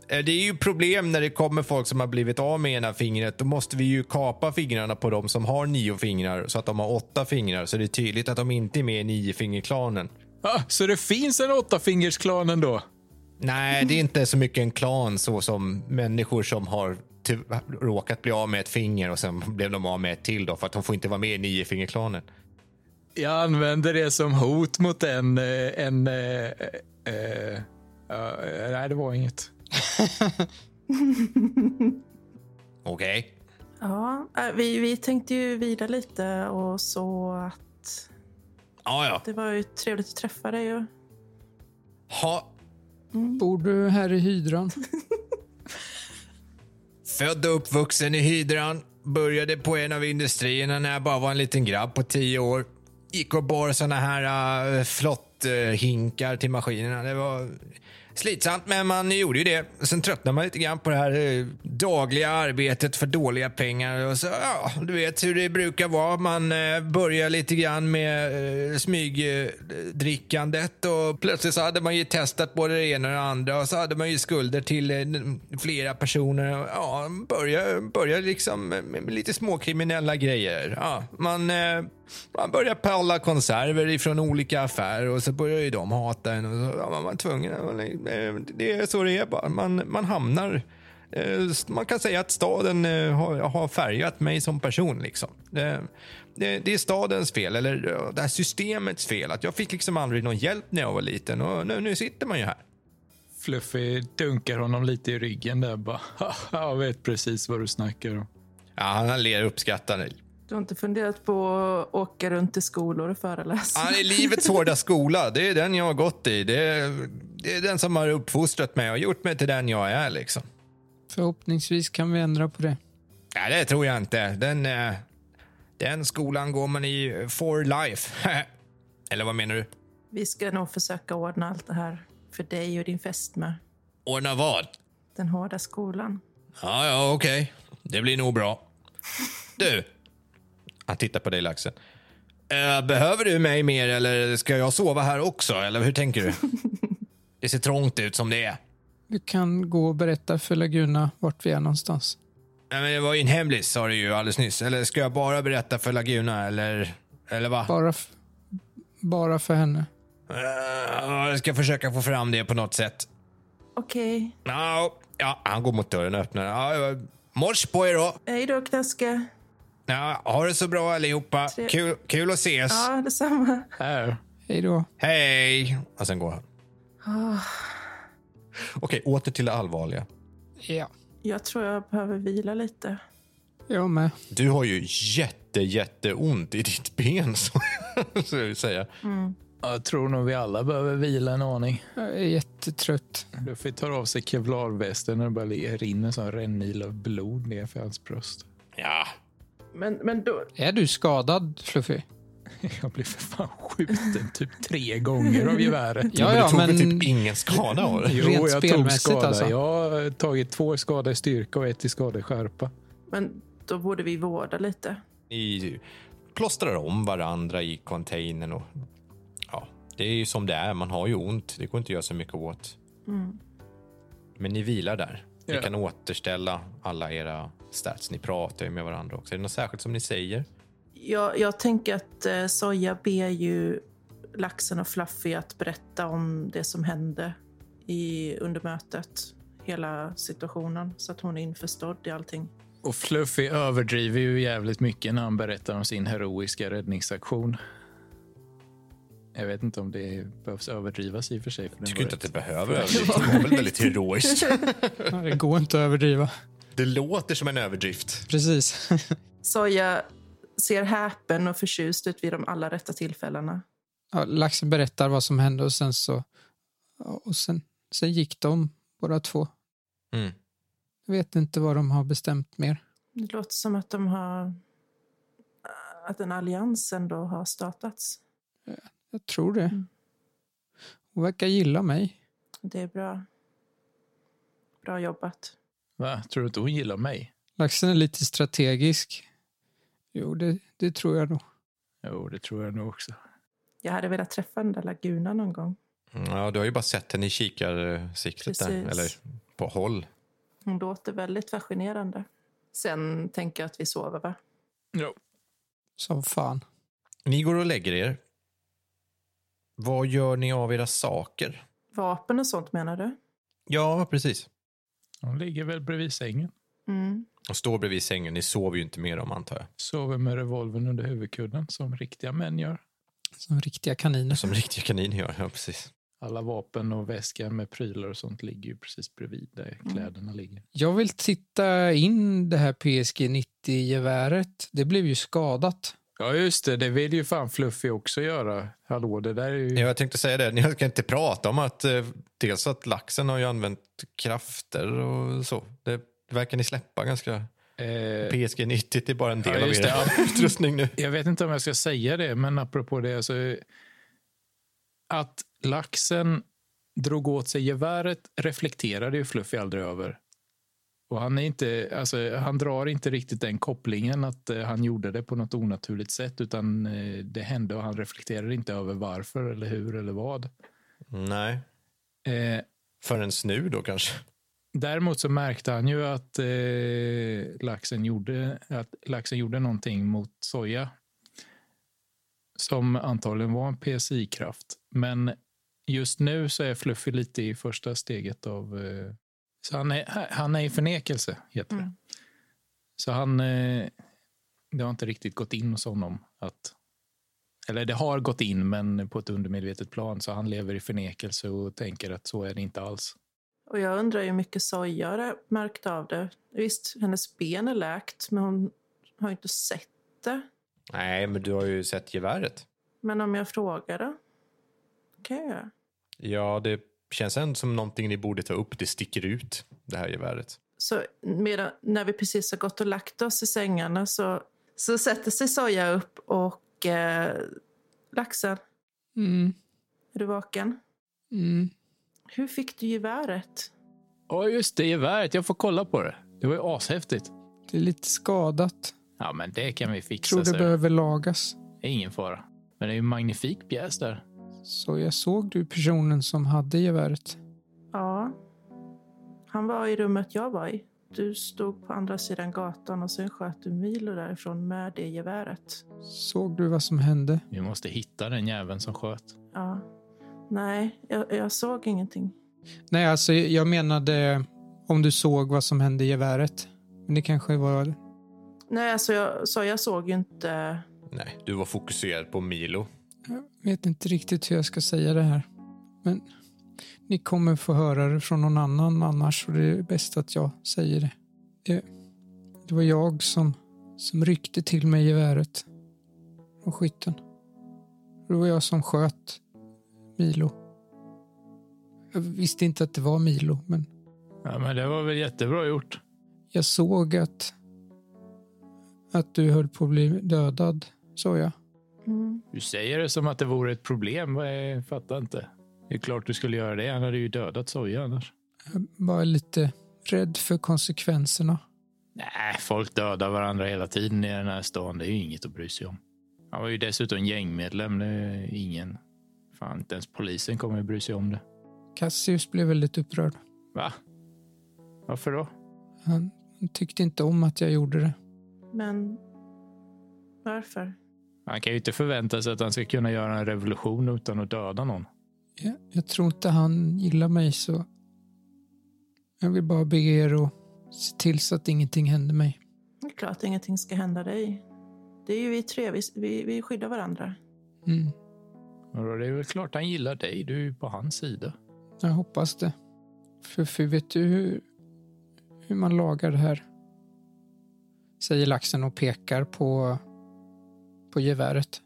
[SPEAKER 1] Eh, Det är ju problem när det kommer folk som har blivit av med ena fingret. Då måste vi ju kapa fingrarna på dem som har nio fingrar så att de har åtta fingrar. Så det är tydligt att de inte är med i niofingerklanen.
[SPEAKER 3] Ah, så det finns en åttafingersklan ändå?
[SPEAKER 1] Nej, det är inte så mycket en klan så som människor som har ty- råkat bli av med ett finger och sen blev de av med ett till då för att de får inte vara med i niofingerklanen.
[SPEAKER 3] Jag använder det som hot mot en... eh, en eh, eh, ja, eh, nej, det var inget.
[SPEAKER 1] Okej.
[SPEAKER 5] Ja, eh, vi, vi tänkte ju vidare lite och så att
[SPEAKER 1] Ja, ja.
[SPEAKER 5] det var ju trevligt att träffa dig. Och...
[SPEAKER 1] Ha,
[SPEAKER 4] Bor du här i hydran?
[SPEAKER 1] Född och uppvuxen i hydran. Började på en av industrierna när jag bara var en liten grabb på tio år. Gick och bar såna här uh, flotthinkar till maskinerna. Det var slitsamt, men man gjorde ju det. Sen tröttnade man lite grann på det här eh, dagliga arbetet för dåliga pengar. Och så, ja, du vet hur det brukar vara. Man eh, börjar lite grann med uh, smygdrickandet och plötsligt så hade man ju testat både det ena och det andra och så hade man ju skulder till eh, n- flera personer. Och, Ja, börjar, börjar liksom med med lite småkriminella grejer. Ja, man, eh, man börjar palla konserver ifrån olika affärer och så börjar ju de hata en. Och så, ja, man var tvungen. eh, Det är så det är bara. Man, man hamnar... eh, Man kan säga att staden eh, har, har färgat mig som person. Liksom. Det, det, det är stadens fel, eller eh, det här systemets fel. Att jag fick liksom aldrig någon hjälp när jag var liten och nu, nu sitter man ju här.
[SPEAKER 3] Fluffy dunkar honom lite i ryggen där. Bara, "Haha, jag vet precis vad du snackar om.
[SPEAKER 1] Ja, han ler uppskattande.
[SPEAKER 5] Du har inte funderat på att åka runt till skolor och föreläsa?
[SPEAKER 1] Ja, det är livets hårda skola. Det är den jag har gått i. Det är, det är den som har uppfostrat mig och gjort mig till den jag är. Liksom.
[SPEAKER 4] Förhoppningsvis kan vi ändra på det.
[SPEAKER 1] Ja, det tror jag inte. Den, eh, den skolan går man i for life. Eller vad menar du?
[SPEAKER 5] Vi ska nog försöka ordna allt det här för dig och din fästmö.
[SPEAKER 1] Ordna vad?
[SPEAKER 5] Den hårda skolan.
[SPEAKER 1] Ja, ja, okej. Det blir nog bra. Du. Han tittar på dig, Laxen. Eh, behöver du mig mer eller ska jag sova här också? Eller hur tänker du? Det ser trångt ut som det är.
[SPEAKER 4] Du kan gå och berätta för Laguna vart vi är någonstans.
[SPEAKER 1] Nej, men det var ju en hemlis sa du ju alldeles nyss. Eller ska jag bara berätta för Laguna eller? Eller vad?
[SPEAKER 4] Bara, f- bara för henne.
[SPEAKER 1] Eh, jag ska försöka få fram det på något sätt.
[SPEAKER 5] Okej.
[SPEAKER 1] Ja, ja, han går mot dörren och öppnar. Ja, mors på er då.
[SPEAKER 5] Hej då, Knaske.
[SPEAKER 1] Ja, ha det så bra allihopa.
[SPEAKER 5] Tre-
[SPEAKER 1] Kul, kul att ses.
[SPEAKER 5] Ja, detsamma.
[SPEAKER 3] Här.
[SPEAKER 4] Hej då.
[SPEAKER 1] Hej! Och sen går han.
[SPEAKER 5] Ah.
[SPEAKER 1] Okej, åter till det allvarliga.
[SPEAKER 4] Ja.
[SPEAKER 5] Jag tror jag behöver vila lite.
[SPEAKER 4] Jag med.
[SPEAKER 1] Du har ju jätte, jätteont i ditt ben, så så jag vill säga.
[SPEAKER 3] Jag tror nog vi alla behöver vila en aning.
[SPEAKER 4] Jag är jättetrött.
[SPEAKER 3] Fluffy tar av sig kevlarvästen när det bara le- rinner en sån rännil av blod ner för hans bröst.
[SPEAKER 1] Ja.
[SPEAKER 5] Men, men då...
[SPEAKER 4] Är du skadad, Fluffy?
[SPEAKER 3] Jag blev för fan skjuten typ tre gånger av geväret.
[SPEAKER 4] Ja, ja,
[SPEAKER 1] du tog väl
[SPEAKER 4] men-
[SPEAKER 1] typ ingen skada av det?
[SPEAKER 3] Jo, jag
[SPEAKER 4] Rent
[SPEAKER 3] tog
[SPEAKER 4] spelmässigt
[SPEAKER 3] skada.
[SPEAKER 4] alltså.
[SPEAKER 3] Jag har tagit två skador i styrka och ett i skada i skärpa.
[SPEAKER 5] Men då borde vi vårda lite.
[SPEAKER 1] Ni plåstrar om varandra i containern och ja, det är ju som det är. Man har ju ont. Det går inte att göra så mycket åt. Men ni vilar där. Ni
[SPEAKER 3] Ja.
[SPEAKER 1] kan återställa alla era stats. Ni pratar ju med varandra också. Är det något särskilt som ni säger?
[SPEAKER 5] Jag, jag tänker att eh, Soja ber ju Laxen och Fluffy att berätta om det som hände i, under mötet. Hela situationen. Så att hon är införstådd i allting.
[SPEAKER 3] Och Fluffy överdriver ju jävligt mycket när han berättar om sin heroiska räddningsaktion. Jag vet inte om det behövs överdrivas i och för sig. För den
[SPEAKER 1] Jag tycker
[SPEAKER 3] var
[SPEAKER 1] inte att det
[SPEAKER 3] rätt-
[SPEAKER 1] behöver överdrift. Det var väl väldigt heroiskt.
[SPEAKER 4] Nej, Det går inte att överdriva.
[SPEAKER 1] Det låter som en överdrift.
[SPEAKER 4] Precis.
[SPEAKER 5] Soja ser häpen och förtjust ut vid de allra rätta tillfällena.
[SPEAKER 4] Ja, Laxen berättar vad som hände och sen så... ja, Och sen, sen gick de båda två.
[SPEAKER 1] Mm.
[SPEAKER 4] Jag vet inte vad de har bestämt mer.
[SPEAKER 5] Det låter som att de har... Att en allians ändå har startats.
[SPEAKER 4] Jag tror det.
[SPEAKER 5] Mm.
[SPEAKER 4] Hon verkar gilla mig.
[SPEAKER 5] Det är bra. Bra jobbat.
[SPEAKER 3] Va? Tror du inte hon gillar mig?
[SPEAKER 4] Laxen är lite strategisk. Jo, det, det tror jag nog.
[SPEAKER 3] Jo, det tror jag nog också.
[SPEAKER 5] Jag hade velat träffa den där lagunan någon gång.
[SPEAKER 1] Mm, Ja, du har ju bara sett henne i kikarsiktet där,
[SPEAKER 5] Precis.
[SPEAKER 1] eller på håll.
[SPEAKER 5] Hon låter väldigt fascinerande. Sen tänker jag att vi sover, va?
[SPEAKER 3] Jo.
[SPEAKER 4] Som fan.
[SPEAKER 1] Ni går och lägger er. Vad gör ni av era saker?
[SPEAKER 5] Vapen och sånt menar du?
[SPEAKER 1] Ja, precis.
[SPEAKER 3] Hon ligger väl bredvid sängen.
[SPEAKER 5] Mm.
[SPEAKER 1] Och står bredvid sängen. Ni sover ju inte med dem, antar jag.
[SPEAKER 3] Sover med revolvern under huvudkudden som riktiga män gör.
[SPEAKER 4] Som riktiga kaniner.
[SPEAKER 1] Som riktiga kaniner gör. Ja, precis.
[SPEAKER 3] Alla vapen och väskor med prylar och sånt ligger ju precis bredvid där kläderna ligger.
[SPEAKER 4] Jag vill titta in det här PSG 90-geväret. Det blev ju skadat.
[SPEAKER 3] Ja, just det. Det vill ju fan Fluffy också göra. Hallå, det där är ju...
[SPEAKER 1] Ja, Jag tänkte säga det. Ni ska inte prata om att eh, dels att laxen har ju använt krafter och så. Det verkar ni släppa ganska...
[SPEAKER 3] Eh,
[SPEAKER 1] PSG 90 är bara en del
[SPEAKER 3] Ja,
[SPEAKER 1] av
[SPEAKER 3] just
[SPEAKER 1] er
[SPEAKER 3] det,
[SPEAKER 1] utrustning nu.
[SPEAKER 3] jag vet inte om jag ska säga det, men apropå det. Alltså, att laxen drog åt sig geväret reflekterade ju Fluffy aldrig över. Och han, är inte, alltså, han drar inte riktigt den kopplingen att eh, han gjorde det på något onaturligt sätt, utan eh, det hände och han reflekterar inte över varför eller hur eller vad.
[SPEAKER 1] Nej.
[SPEAKER 3] Eh,
[SPEAKER 1] Förrän nu då kanske.
[SPEAKER 3] Däremot så märkte han ju att, eh, laxen, gjorde, att laxen gjorde någonting mot soja. Som antagligen var en PSI-kraft. Men just nu så är Fluffy lite i första steget av... Eh, så han är, han är i förnekelse, heter det.
[SPEAKER 5] Mm.
[SPEAKER 3] Så han... Eh, det har inte riktigt gått in hos honom att... Eller det har gått in, men på ett undermedvetet plan. Så han lever i förnekelse och tänker att så är det inte alls.
[SPEAKER 5] Och jag undrar hur mycket soja har det märkt av det. Visst, hennes ben är läkt, men hon har ju inte sett det.
[SPEAKER 1] Nej, men du har ju sett geväret.
[SPEAKER 5] Men om jag frågar då? kan jag göra.
[SPEAKER 1] Ja, det känns ändå som någonting ni borde ta upp. Det sticker ut, det här geväret.
[SPEAKER 5] Så medan, när vi precis har gått och lagt oss i sängarna så, så sätter sig Soja upp och eh, laxen,
[SPEAKER 4] Mm,
[SPEAKER 5] är du vaken?
[SPEAKER 4] mm.
[SPEAKER 5] Hur fick du geväret?
[SPEAKER 3] Ja, just det. Geväret. Jag får kolla på det. Det var ju ashäftigt.
[SPEAKER 4] Det är lite skadat.
[SPEAKER 3] Ja, men det kan vi
[SPEAKER 4] Jag
[SPEAKER 3] fixa.
[SPEAKER 4] tror det
[SPEAKER 3] så
[SPEAKER 4] behöver lagas.
[SPEAKER 3] det är ingen fara. Men det är ju en magnifik pjäs där.
[SPEAKER 4] Så jag såg du personen som hade geväret.
[SPEAKER 5] Ja, han var i rummet jag var i. Du stod på andra sidan gatan och sen sköt du Milo därifrån med det geväret.
[SPEAKER 4] Såg du vad som hände?
[SPEAKER 3] Vi måste hitta den jäveln som sköt.
[SPEAKER 5] Ja. Nej, jag, jag såg ingenting.
[SPEAKER 4] Nej, alltså jag menade om du såg vad som hände i geväret. Men det kanske var...
[SPEAKER 5] Nej, alltså jag, så jag såg ju inte...
[SPEAKER 1] Nej, du var fokuserad på Milo.
[SPEAKER 4] Jag vet inte riktigt hur jag ska säga det här. Men ni kommer få höra det från någon annan annars och det är bäst att jag säger det. Det, det var jag som, som ryckte till mig geväret och skytten. Det var jag som sköt Milo. Jag visste inte att det var Milo, men
[SPEAKER 3] Ja, men det var väl jättebra gjort.
[SPEAKER 4] Jag såg att, att du höll på att bli dödad, sa jag.
[SPEAKER 5] Mm.
[SPEAKER 3] Du säger det som att det vore ett problem. Vad är- Jag fattar inte. Det är klart du skulle göra det. Han hade ju dödat Soja annars.
[SPEAKER 4] Jag var lite rädd för konsekvenserna.
[SPEAKER 3] Nej, folk dödar varandra hela tiden i den här stan. Det är ju inget att bry sig om. Han var ju dessutom gängmedlem. Det är ingen... Fan, inte ens polisen kommer ju bry sig om det.
[SPEAKER 4] Cassius blev väldigt upprörd.
[SPEAKER 3] Va? Varför då?
[SPEAKER 4] Han tyckte inte om att jag gjorde det.
[SPEAKER 5] Men varför?
[SPEAKER 3] Han kan ju inte förvänta sig att han ska kunna göra en revolution utan att döda någon.
[SPEAKER 4] Jag, jag tror inte han gillar mig, så jag vill bara be er att se till så att ingenting händer mig.
[SPEAKER 5] Det är klart ingenting ska hända dig. Det är ju vi tre, vi, vi, vi skyddar varandra.
[SPEAKER 4] Mm,
[SPEAKER 3] Och då är det är väl klart han gillar dig, du är ju på hans sida.
[SPEAKER 4] jag hoppas det. För, för vet du hur, hur man lagar det här? Säger laxen och pekar på, på geväret.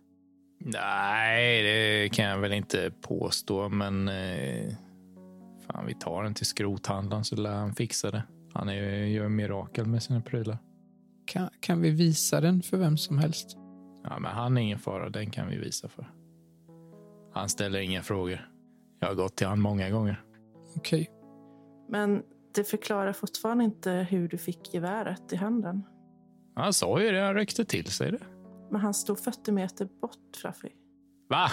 [SPEAKER 3] Nej, det kan jag väl inte påstå, men... Eh, fan, vi tar den till skrothandlaren så lär han fixa det. Han är, ju- gör mirakel med sina prylar.
[SPEAKER 4] Kan, kan vi visa den för vem som helst?
[SPEAKER 3] Ja, men han är ingen fara, den kan vi visa för. Han ställer inga frågor. Jag har gått till han många gånger.
[SPEAKER 4] Okej.
[SPEAKER 5] Men det förklarar fortfarande inte hur du fick geväret i handen.
[SPEAKER 3] Han sa ju det, han ryckte till sig det.
[SPEAKER 5] Men han stod 40 meter bort, Fluffy.
[SPEAKER 3] Va?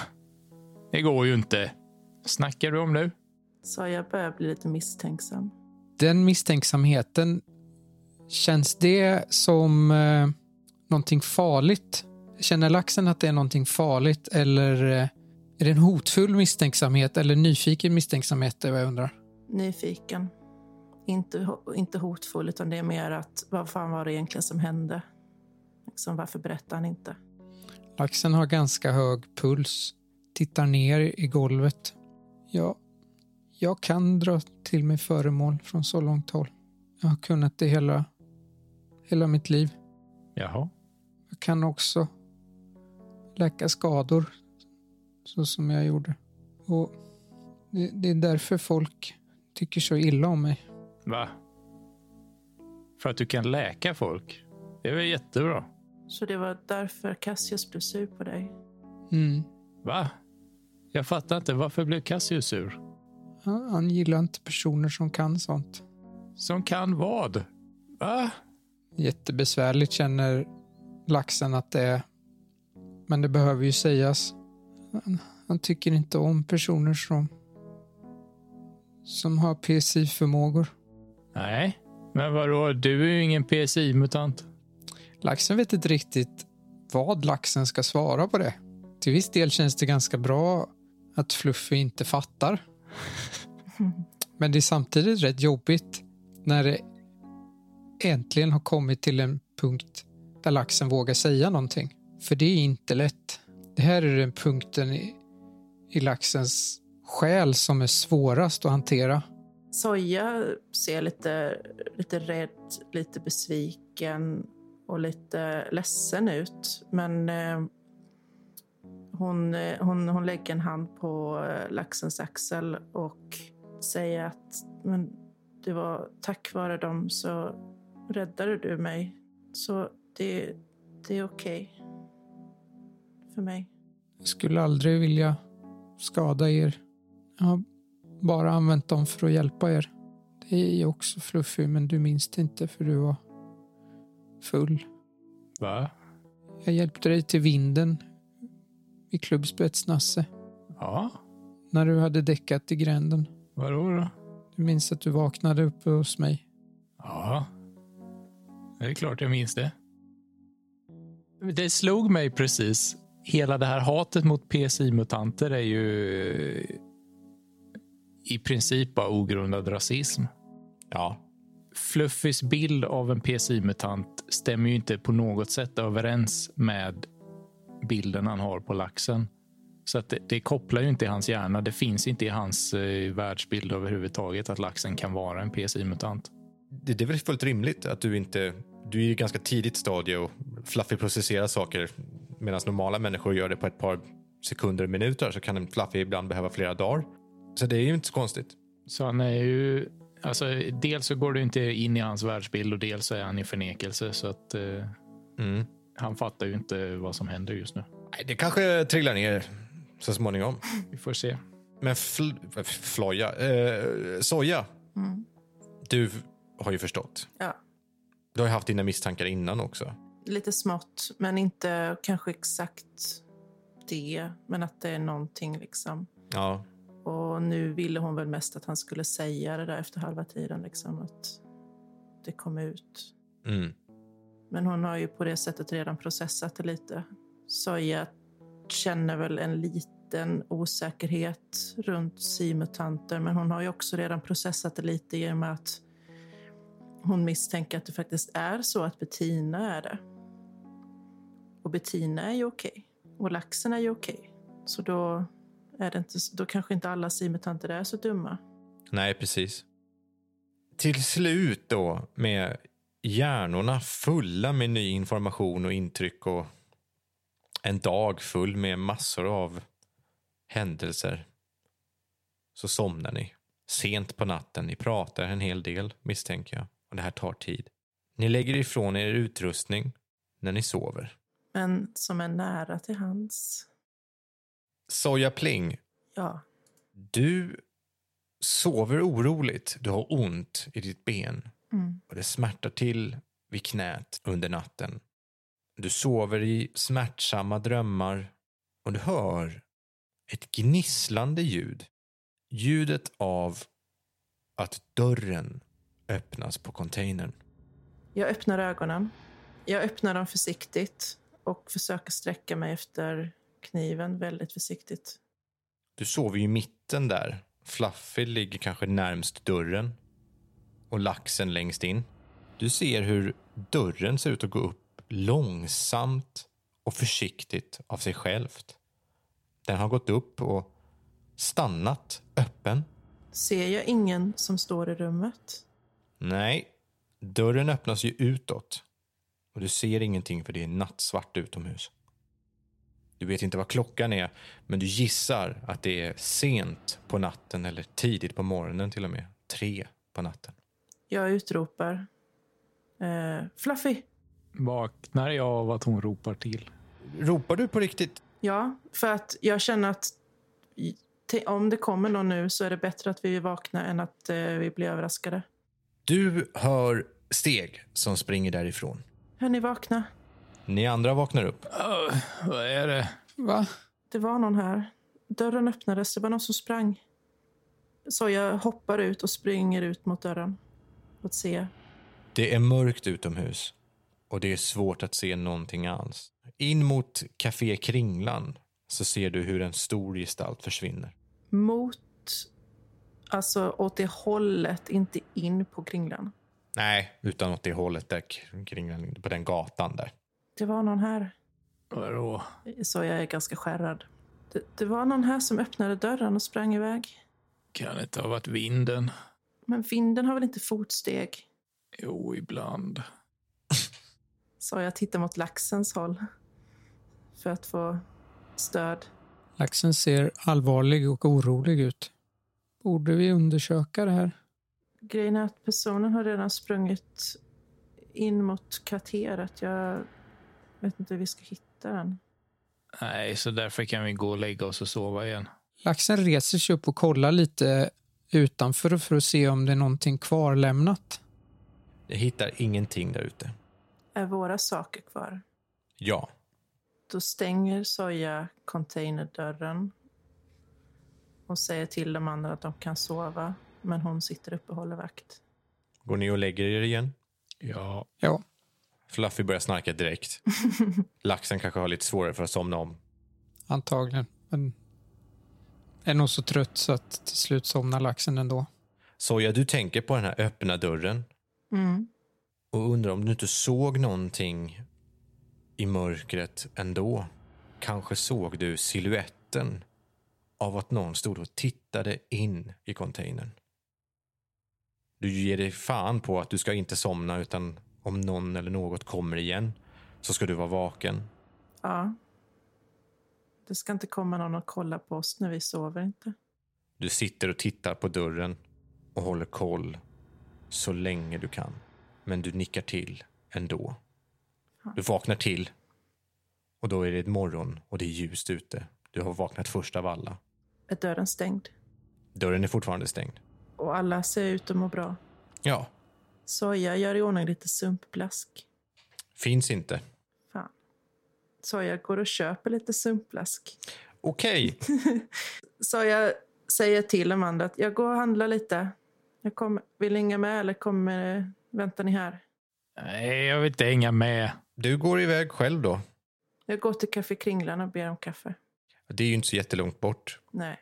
[SPEAKER 3] Det går ju inte. Snackar du om nu?
[SPEAKER 5] Så jag börjar bli lite misstänksam.
[SPEAKER 4] Den misstänksamheten, känns det som eh, någonting farligt? Känner laxen att det är någonting farligt eller eh, är det en hotfull misstänksamhet eller nyfiken misstänksamhet? Det är vad jag undrar.
[SPEAKER 5] Nyfiken. Inte, ho- inte hotfull, utan det är mer att vad fan var det egentligen som hände? Liksom, varför berättar han inte?
[SPEAKER 4] Laxen har ganska hög puls. Tittar ner i golvet. Ja, jag kan dra till mig föremål från så långt håll. Jag har kunnat det hela, hela mitt liv.
[SPEAKER 3] Jaha.
[SPEAKER 4] Jag kan också läka skador så som jag gjorde. Och det, det är därför folk tycker så illa om mig.
[SPEAKER 3] Va? För att du kan läka folk? Det är väl jättebra?
[SPEAKER 5] Så det var därför Cassius blev sur på dig.
[SPEAKER 4] Mm.
[SPEAKER 3] Va? Jag fattar inte. Varför blev Cassius sur?
[SPEAKER 4] Han, han gillar inte personer som kan sånt.
[SPEAKER 3] Som kan vad? Va?
[SPEAKER 4] Jättebesvärligt känner laxen att det är. Men det behöver ju sägas. Han, han tycker inte om personer som, som har PSI-förmågor.
[SPEAKER 3] Nej. Men vadå? Du är ju ingen PSI-mutant.
[SPEAKER 4] Laxen vet inte riktigt vad laxen ska svara på det. Till viss del känns det ganska bra att Fluffy inte fattar. Men det är samtidigt rätt jobbigt när det äntligen har kommit till en punkt där laxen vågar säga någonting. För det är inte lätt. Det här är den punkten i, i laxens själ som är svårast att hantera.
[SPEAKER 5] Soja ser lite, lite rädd, lite besviken och lite ledsen ut. Men eh, hon, eh, hon, hon lägger en hand på eh, laxens axel och säger att men det var tack vare dem så räddade du mig. Så det, det är okej för mig.
[SPEAKER 4] Jag skulle aldrig vilja skada er. Jag har bara använt dem för att hjälpa er. Det är ju också Fluffy, men du minns det inte för du var full.
[SPEAKER 3] Va?
[SPEAKER 4] Jag hjälpte dig till vinden i Klubbspets Nasse
[SPEAKER 3] Ja.
[SPEAKER 4] när du hade däckat i gränden.
[SPEAKER 3] Vadå då?
[SPEAKER 4] Du minns att du vaknade uppe hos mig.
[SPEAKER 3] Ja. Det är klart jag minns det. Det slog mig precis. Hela det här hatet mot PSI-mutanter är ju i princip bara ogrundad rasism.
[SPEAKER 1] Ja.
[SPEAKER 3] Fluffys bild av en PSI-mutant stämmer ju inte på något sätt överens med bilden han har på laxen. Så att det, det kopplar ju inte i hans hjärna. Det finns inte i hans eh, världsbild överhuvudtaget att laxen kan vara en PSI-mutant.
[SPEAKER 1] Det, det är väl fullt rimligt att du inte... Du är ju i ganska tidigt stadie och Fluffy processerar saker medan normala människor gör det på ett par sekunder, minuter så kan en Fluffy ibland behöva flera dagar. Så det är ju inte så konstigt.
[SPEAKER 3] Så han är ju... Alltså, dels så går det inte in i hans världsbild och dels så är han i förnekelse. Så att eh,
[SPEAKER 1] Mm.
[SPEAKER 3] han fattar ju inte vad som händer just nu.
[SPEAKER 1] Nej, det kanske trillar ner så småningom.
[SPEAKER 3] Vi får se.
[SPEAKER 1] Men fl f- floja, eh, soja,
[SPEAKER 5] Mm.
[SPEAKER 1] du har ju förstått.
[SPEAKER 5] Ja.
[SPEAKER 1] Du har ju haft dina misstankar innan också.
[SPEAKER 5] lite smått, men inte kanske exakt det. Men att det är någonting liksom.
[SPEAKER 1] Ja,
[SPEAKER 5] Och nu ville hon väl mest att han skulle säga det där efter halva tiden liksom. Att det kom ut.
[SPEAKER 1] mm.
[SPEAKER 5] Men hon har ju på det sättet redan processat det lite. Så jag känner väl en liten osäkerhet runt simutanter. Men hon har ju också redan processat det lite i och med att hon misstänker att det faktiskt är så att Bettina är det. Och Bettina är ju okej. Och laxen är ju okej. Så då, är det inte, då kanske inte alla simutanter är så dumma.
[SPEAKER 1] nej precis. Till slut då med hjärnorna fulla med ny information och intryck och en dag full med massor av händelser. Så somnar ni. Sent på natten. Ni pratar en hel del misstänker jag. Och det här tar tid. Ni lägger ifrån er utrustning när ni sover.
[SPEAKER 5] Men som är nära till hans.
[SPEAKER 1] Soja Pling,
[SPEAKER 5] Ja,
[SPEAKER 1] du sover oroligt. Du har ont i ditt ben
[SPEAKER 5] Mm.
[SPEAKER 1] och det smärtar till vid knät under natten. Du sover i smärtsamma drömmar och du hör ett gnisslande ljud. Ljudet av att dörren öppnas på containern.
[SPEAKER 5] Jag öppnar ögonen. Jag öppnar dem försiktigt och försöker sträcka mig efter kniven väldigt försiktigt.
[SPEAKER 1] Du sover ju i mitten där. Fluffy ligger kanske närmst dörren och laxen längst in. Du ser hur dörren ser ut att gå upp långsamt och försiktigt av sig självt. Den har gått upp och stannat öppen.
[SPEAKER 5] Ser jag ingen som står i rummet?
[SPEAKER 1] Nej, dörren öppnas ju utåt och du ser ingenting för det är nattsvart utomhus. Du vet inte vad klockan är, men du gissar att det är sent på natten eller tidigt på morgonen till och med. Tre på natten.
[SPEAKER 5] Jag utropar. Eh, Fluffy!
[SPEAKER 3] Vaknar jag av att hon ropar till?
[SPEAKER 1] Ropar du på riktigt?
[SPEAKER 5] Ja, för att jag känner att i- te- om det kommer någon nu så är det bättre att vi är vakna än att eh, vi blir överraskade.
[SPEAKER 1] Du hör steg som springer därifrån.
[SPEAKER 5] Hör ni vakna?
[SPEAKER 1] Ni andra vaknar upp.
[SPEAKER 3] Ah, vad är det?
[SPEAKER 4] Va?
[SPEAKER 5] Det var någon här. Dörren öppnades, det var någon som sprang. Så jag hoppar ut och springer ut mot dörren. För att se.
[SPEAKER 1] Det är mörkt utomhus och det är svårt att se någonting alls. In mot Café Kringlan så ser du hur en stor gestalt försvinner.
[SPEAKER 5] Mot, alltså åt det hållet, inte in på kringlan.
[SPEAKER 1] Nej, utan åt det hållet där kring på den gatan där.
[SPEAKER 5] Det var någon här.
[SPEAKER 3] Vadå?
[SPEAKER 5] Så jag är ganska skärrad. Det, det var någon här som öppnade dörren och sprang iväg.
[SPEAKER 3] Kan det inte ha varit vinden?
[SPEAKER 5] Men vinden har väl inte fotsteg?
[SPEAKER 3] Jo, ibland.
[SPEAKER 5] Så jag tittar mot laxens håll. För att få stöd.
[SPEAKER 4] Laxen ser allvarlig och orolig ut. Borde vi undersöka det här?
[SPEAKER 5] Grejen är att personen har redan sprungit in mot kvarteret. Jag vet inte hur vi ska hitta den.
[SPEAKER 3] Nej, så därför kan vi gå och lägga oss och sova igen.
[SPEAKER 4] Laxen reser sig upp och kollar lite utanför för att se om det är någonting kvarlämnat.
[SPEAKER 1] Jag hittar ingenting där ute.
[SPEAKER 5] Är våra saker kvar?
[SPEAKER 1] Ja,
[SPEAKER 5] Då stänger Soja containerdörren och säger till de andra att de kan sova. Men hon sitter uppe och håller vakt.
[SPEAKER 1] går ni och lägger er igen?
[SPEAKER 3] Ja.
[SPEAKER 4] Ja,
[SPEAKER 1] Fluffy börjar snarka direkt. Laxen kanske har lite svårare för att somna om.
[SPEAKER 4] antagligen. Men är nog så trött så att till slut somnar laxen ändå.
[SPEAKER 1] Soja, du tänker på den här öppna dörren
[SPEAKER 5] Mm.
[SPEAKER 1] och undrar om du inte såg någonting i mörkret ändå. Kanske såg du siluetten av att någon stod och tittade in i containern. Du ger dig fan på att du ska inte somna utan om någon eller något kommer igen så ska du vara vaken.
[SPEAKER 5] Ja. Det ska inte komma någon och kolla på oss när vi sover inte.
[SPEAKER 1] Du sitter och tittar på dörren och håller koll så länge du kan. Men du nickar till ändå. Du vaknar till och då är det morgon och det är ljust ute. Du har vaknat först av alla.
[SPEAKER 5] Är dörren stängd?
[SPEAKER 1] Dörren är fortfarande stängd.
[SPEAKER 5] Och alla ser ut att må bra.
[SPEAKER 1] Ja,
[SPEAKER 5] Soja gör i ordning lite sumpblask.
[SPEAKER 1] finns inte.
[SPEAKER 5] Fan. Så jag går och köper lite sumpblask.
[SPEAKER 1] Okej,
[SPEAKER 5] Så jag säger till de andra att jag går och handlar lite. Jag kommer, vill ni hänga med eller kommer, väntar ni här?
[SPEAKER 3] Nej, jag vill inte hänga med.
[SPEAKER 1] du går iväg själv då.
[SPEAKER 5] Jag går till Café Kringlan och ber om kaffe.
[SPEAKER 1] Det är ju inte så jättelångt bort.
[SPEAKER 5] Nej.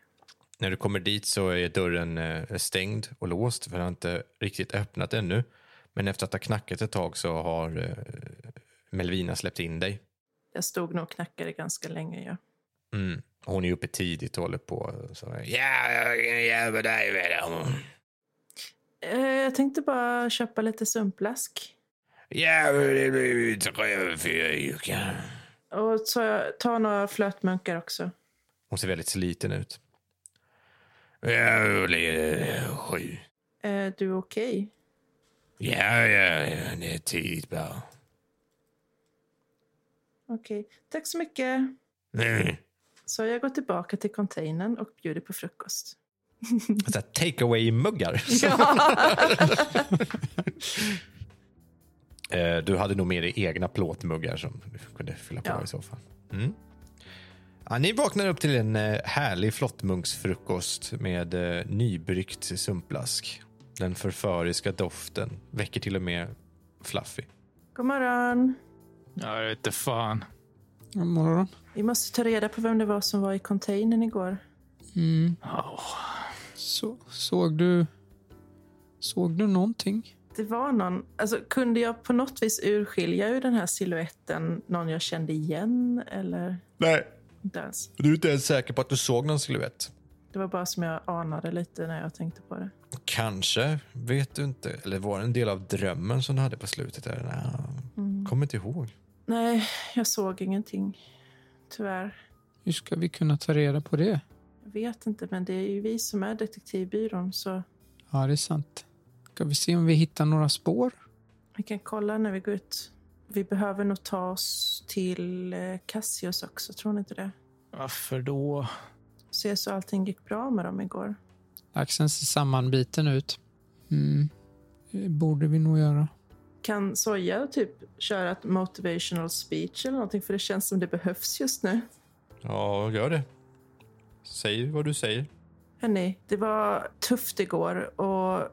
[SPEAKER 1] När du kommer dit så är dörren eh, stängd och låst för den har inte riktigt öppnat ännu. Men efter att ha knackat ett tag så har eh, Melvina släppt in dig.
[SPEAKER 5] Jag stod nog och knackade ganska länge. Ja.
[SPEAKER 1] Mm. Hon är uppe tidigt och håller på. Så, ja, jag kan hjälpa dig med det.
[SPEAKER 5] Eh, jag tänkte bara köpa lite sumpblask.
[SPEAKER 1] Ja, det blir trevligt.
[SPEAKER 5] Och så jag tar några flötmunkar också.
[SPEAKER 1] Hon ser väldigt sliten ut. Ja, det blir sju.
[SPEAKER 5] Är Eh, du okej?
[SPEAKER 1] Ja, ja, ja, det är tidigt bara.
[SPEAKER 5] Okej. Tack så mycket.
[SPEAKER 1] Mm.
[SPEAKER 5] Så jag går tillbaka till containern och bjuder på frukost.
[SPEAKER 1] Så här, take away-muggar. Eh, Du hade nog med dig egna plåtmuggar som du kunde fylla på
[SPEAKER 5] Ja.
[SPEAKER 1] i så fall. Mm. Ja, ni vaknar upp till en eh, härlig flottmunksfrukost med eh, nybryggt sumpblask. Den förföriska doften väcker till och med Fluffy.
[SPEAKER 5] God morgon.
[SPEAKER 3] Ja, jag vet inte fan.
[SPEAKER 4] God morgon.
[SPEAKER 5] Vi måste ta reda på vem det var som var i containern igår.
[SPEAKER 4] Mm.
[SPEAKER 3] Ja,
[SPEAKER 4] Så, såg du... Såg du någonting?
[SPEAKER 5] Det var någon... Alltså, kunde jag på något vis urskilja ur den här siluetten någon jag kände igen? Eller
[SPEAKER 1] Nej,
[SPEAKER 5] inte ens.
[SPEAKER 1] du är inte ens säker på att du såg någon silhuett.
[SPEAKER 5] Det var bara som jag anade lite när jag tänkte på det.
[SPEAKER 1] Kanske, vet du inte. Eller var det en del av drömmen som du hade på slutet? Där? Nej, Kommer inte ihåg.
[SPEAKER 5] Mm. Nej, jag såg ingenting. Tyvärr.
[SPEAKER 4] Hur ska vi kunna ta reda på det?
[SPEAKER 5] Jag vet inte, men det är ju vi som är detektivbyrån så
[SPEAKER 4] Ja, det är sant. Ska vi se om vi hittar några spår?
[SPEAKER 5] vi kan kolla när vi går ut. Vi behöver nog ta oss till eh, Cassius också, tror ni inte det?
[SPEAKER 3] varför då?
[SPEAKER 5] Se så allting gick bra med dem igår.
[SPEAKER 4] Laxen ser sammanbiten ut. Mm. Det borde vi nog göra.
[SPEAKER 5] Kan Soja typ köra ett motivational speech eller någonting? För det känns som det behövs just nu.
[SPEAKER 1] Ja, gör det. Säg vad du säger.
[SPEAKER 5] Hörni, det var tufft igår och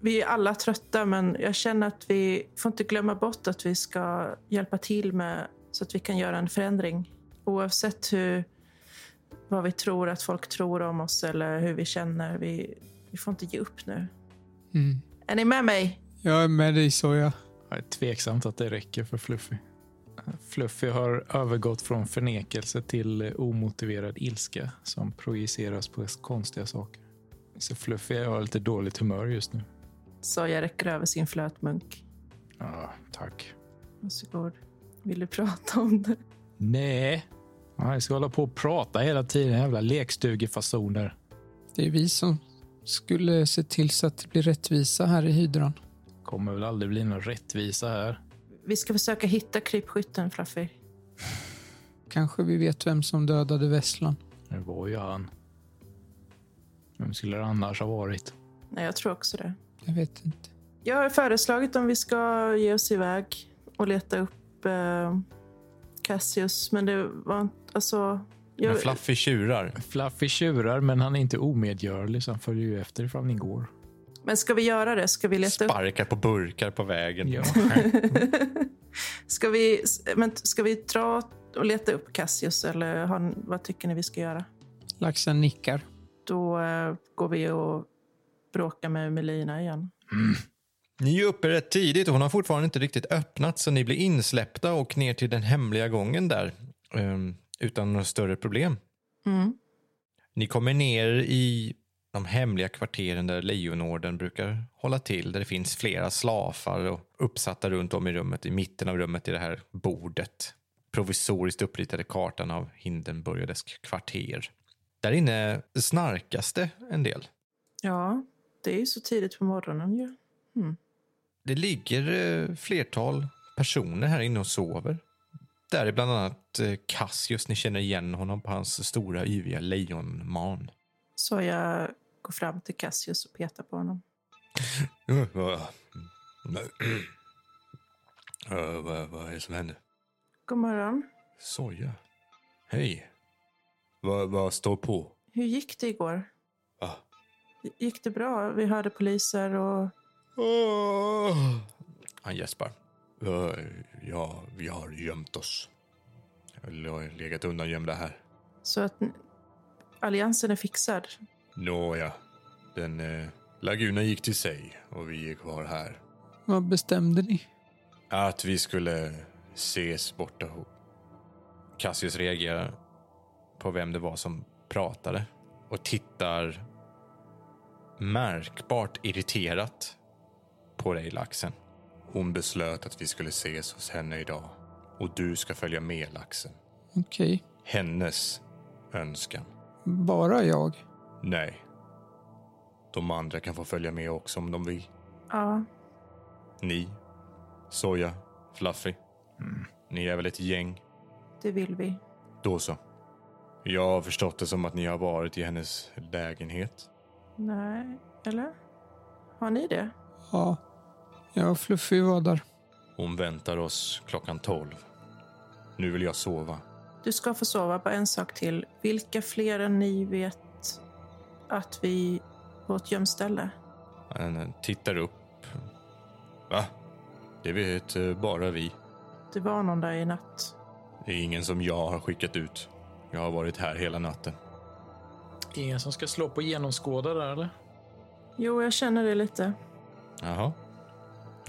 [SPEAKER 5] vi är alla trötta men jag känner att vi får inte glömma bort att vi ska hjälpa till med så att vi kan göra en förändring. Oavsett hur, vad vi tror att folk tror om oss eller hur vi känner. Vi, vi får inte ge upp nu.
[SPEAKER 4] Mm.
[SPEAKER 5] Är ni med mig?
[SPEAKER 4] Jag är med dig, Soja.
[SPEAKER 3] Jag är tveksamt att det räcker för Fluffy. Fluffy har övergått från förnekelse till omotiverad ilska som projiceras på konstiga saker. Så Fluffy har lite dåligt humör just nu.
[SPEAKER 5] Så jag räcker över sin flötmunk.
[SPEAKER 3] Ja, tack.
[SPEAKER 5] Varsågod. Vill du prata om det?
[SPEAKER 3] Nej. Ja, Jag ska hålla på och prata hela tiden. Jävla lekstugefasoner.
[SPEAKER 4] Det är vi som skulle se till så att det blir rättvisa här i hydran.
[SPEAKER 3] Kommer väl aldrig bli någon rättvisa här.
[SPEAKER 5] Vi ska försöka hitta krypskytten, Fluffy.
[SPEAKER 4] Kanske vi vet vem som dödade Vesslan.
[SPEAKER 3] Det var ju han. Vem skulle det annars ha varit?
[SPEAKER 5] Nej, jag tror också det.
[SPEAKER 4] Jag vet inte.
[SPEAKER 5] Jag har föreslagit om vi ska ge oss iväg och leta upp eh, Cassius, men det var inte... Alltså,
[SPEAKER 1] Men
[SPEAKER 5] jag,
[SPEAKER 1] Fluffy tjurar.
[SPEAKER 3] Fluffy tjurar, men han är inte omedgörlig så han följer ju efter ifall ni går.
[SPEAKER 5] men ska vi göra det? Ska vi leta upp...
[SPEAKER 1] Sparkar på burkar på vägen.
[SPEAKER 3] Ja.
[SPEAKER 5] Ska vi, men, ska vi dra och leta upp Cassius, eller har, vad tycker ni vi ska göra?
[SPEAKER 4] Laxen nickar.
[SPEAKER 5] Då eh, går vi och bråkar med Melina igen.
[SPEAKER 1] Ni är ju uppe rätt tidigt och hon har fortfarande inte riktigt öppnat så ni blir insläppta och ner till den hemliga gången där ehm, utan några större problem.
[SPEAKER 5] Mm.
[SPEAKER 1] Ni kommer ner i de hemliga kvarteren där Lejonorden brukar hålla till där det finns flera slafar och uppsatta runt om i rummet, i mitten av rummet i det här bordet. Provisoriskt uppritade kartan av Hindenburg och dess kvarter. Där inne snarkas det en del.
[SPEAKER 5] Ja, det är ju så tidigt på morgonen ju.
[SPEAKER 1] Det ligger eh, flertal personer här inne och sover. Där är bland annat eh, Cassius. Ni känner igen honom på hans stora yviga lejonman.
[SPEAKER 5] Så jag går fram till Cassius och petar på honom.
[SPEAKER 1] Mm, vad- mm, eh, Vad vad är det som händer?
[SPEAKER 5] God morgon.
[SPEAKER 1] Soja. Hej. Vad vad står på? Ah.
[SPEAKER 5] Hur gick det igår?
[SPEAKER 1] Va?
[SPEAKER 5] Gick det bra? Vi hörde poliser och...
[SPEAKER 1] Åh! Ah. Han gäspar. Eh, Ja, vi har gömt oss. Jag har legat undan gömda här.
[SPEAKER 5] Så att n- alliansen är fixad.
[SPEAKER 1] Nåja, den eh, lagunen gick till sig och vi är kvar här.
[SPEAKER 4] Vad bestämde ni?
[SPEAKER 1] Att vi skulle ses borta. ho- Cassius reagerar på vem det var som pratade och tittar märkbart irriterat på dig, laxen. Hon beslöt att vi skulle ses hos henne idag och du ska följa med laxen.
[SPEAKER 4] Okej.
[SPEAKER 1] Hennes önskan.
[SPEAKER 4] Bara jag?
[SPEAKER 1] Nej. De andra kan få följa med också om de vill.
[SPEAKER 5] Ja,
[SPEAKER 1] Ni, Soja, Fluffy. Ni är väl ett gäng?
[SPEAKER 5] det vill vi.
[SPEAKER 1] Då så. Jag har förstått det som att ni har varit i hennes lägenhet.
[SPEAKER 5] Nej, eller? Har ni det?
[SPEAKER 4] Ja, jag och Fluffy var där.
[SPEAKER 1] Hon väntar oss klockan tolv. Nu vill jag sova.
[SPEAKER 5] Du ska få sova. Bara en sak till. Vilka fler än ni vet att vi... Vårt gömställe?
[SPEAKER 1] Han eh, tittar upp. Va? Det vet eh, bara vi.
[SPEAKER 5] Det var någon där i natt.
[SPEAKER 1] Det är ingen som jag har skickat ut. Jag har varit här hela natten.
[SPEAKER 3] Det är ingen som ska slå på genomskåda där eller?
[SPEAKER 5] Jo, jag känner det lite.
[SPEAKER 1] Jaha.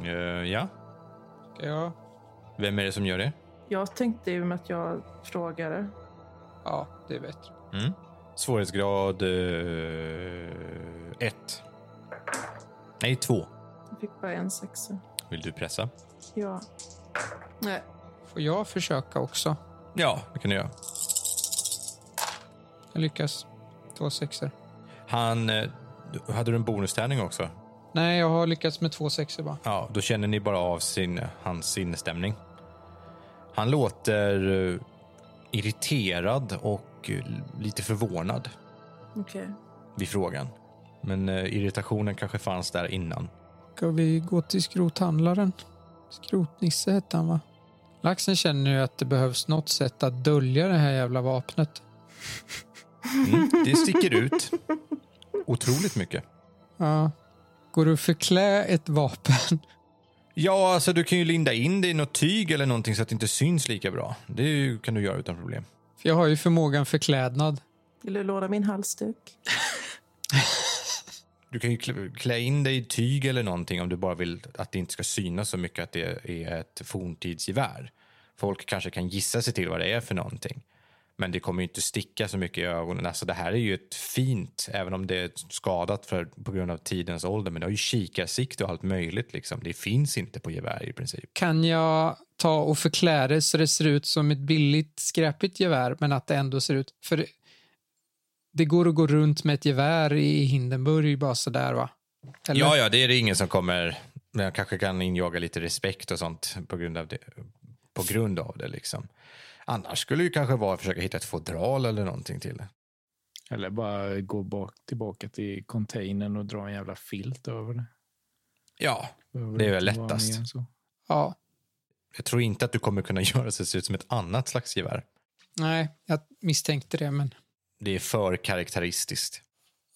[SPEAKER 1] Eh, ja,
[SPEAKER 4] Ja.
[SPEAKER 1] vem är det som gör det?
[SPEAKER 5] Jag tänkte ju med att jag frågade.
[SPEAKER 4] Ja, det är bättre.
[SPEAKER 1] Mm. Svårighetsgrad eh, 1. Nej, 2.
[SPEAKER 5] Jag fick bara en sexa.
[SPEAKER 1] Vill du pressa?
[SPEAKER 5] Ja. Nej.
[SPEAKER 4] Får jag försöka också?
[SPEAKER 1] Ja, det kan du göra.
[SPEAKER 4] Jag lyckas. Två sexor.
[SPEAKER 1] Han... eh, Hade du en bonustärning också?
[SPEAKER 4] Nej, jag har lyckats med två sexor bara.
[SPEAKER 1] Ja, då känner ni bara av sin, hans sinnesstämning. Han låter eh, irriterad och eh, lite förvånad
[SPEAKER 5] Okej.
[SPEAKER 1] vid frågan. Men eh, irritationen kanske fanns där innan.
[SPEAKER 4] Ska vi gå till skrothandlaren? Skrotnisse hette han va? Laxen känner ju att det behövs något sätt att dölja det här jävla vapnet.
[SPEAKER 1] Mm, det sticker ut otroligt mycket.
[SPEAKER 4] Ja. Går du att förklä ett vapen?
[SPEAKER 1] Ja, alltså du kan ju linda in det i något tyg eller någonting så att det inte syns lika bra. Det är ju- kan du göra utan problem.
[SPEAKER 4] För jag har ju förmågan förklädnad.
[SPEAKER 5] Vill du låna min halsduk?
[SPEAKER 1] Du kan ju klä- klä in dig i tyg eller någonting om du bara vill att det inte ska synas så mycket att det är ett forntidsgevär. Folk kanske kan gissa sig till vad det är för någonting. Men det kommer ju inte sticka så mycket i ögonen. Alltså det här är ju ett fint, även om det är skadat för, på grund av tidens ålder, men det har ju kikarsikte och allt möjligt. Liksom. Det finns inte på gevär i princip.
[SPEAKER 4] Kan jag ta och förklä det så det ser ut som ett billigt skräpigt gevär men att det ändå ser ut... För det- det går att gå runt med ett gevär i Hindenburg bara sådär va? Eller?
[SPEAKER 1] Ja, ja, det är det ingen som kommer... Men jag kanske kan injaga lite respekt och sånt på grund av det. På grund av det liksom. Annars skulle det ju kanske vara att försöka hitta ett fodral eller någonting till det.
[SPEAKER 3] Eller bara gå bak, tillbaka till containern och dra en jävla filt över det.
[SPEAKER 1] Ja,
[SPEAKER 3] Behöver
[SPEAKER 1] Det är väl
[SPEAKER 3] inte vara
[SPEAKER 1] lättast.
[SPEAKER 3] mer än så.
[SPEAKER 4] ja.
[SPEAKER 1] jag tror inte att du kommer kunna göra så att det ser ut som ett annat slags gevär.
[SPEAKER 4] Nej, jag misstänkte det men...
[SPEAKER 1] Det är för karaktäristiskt.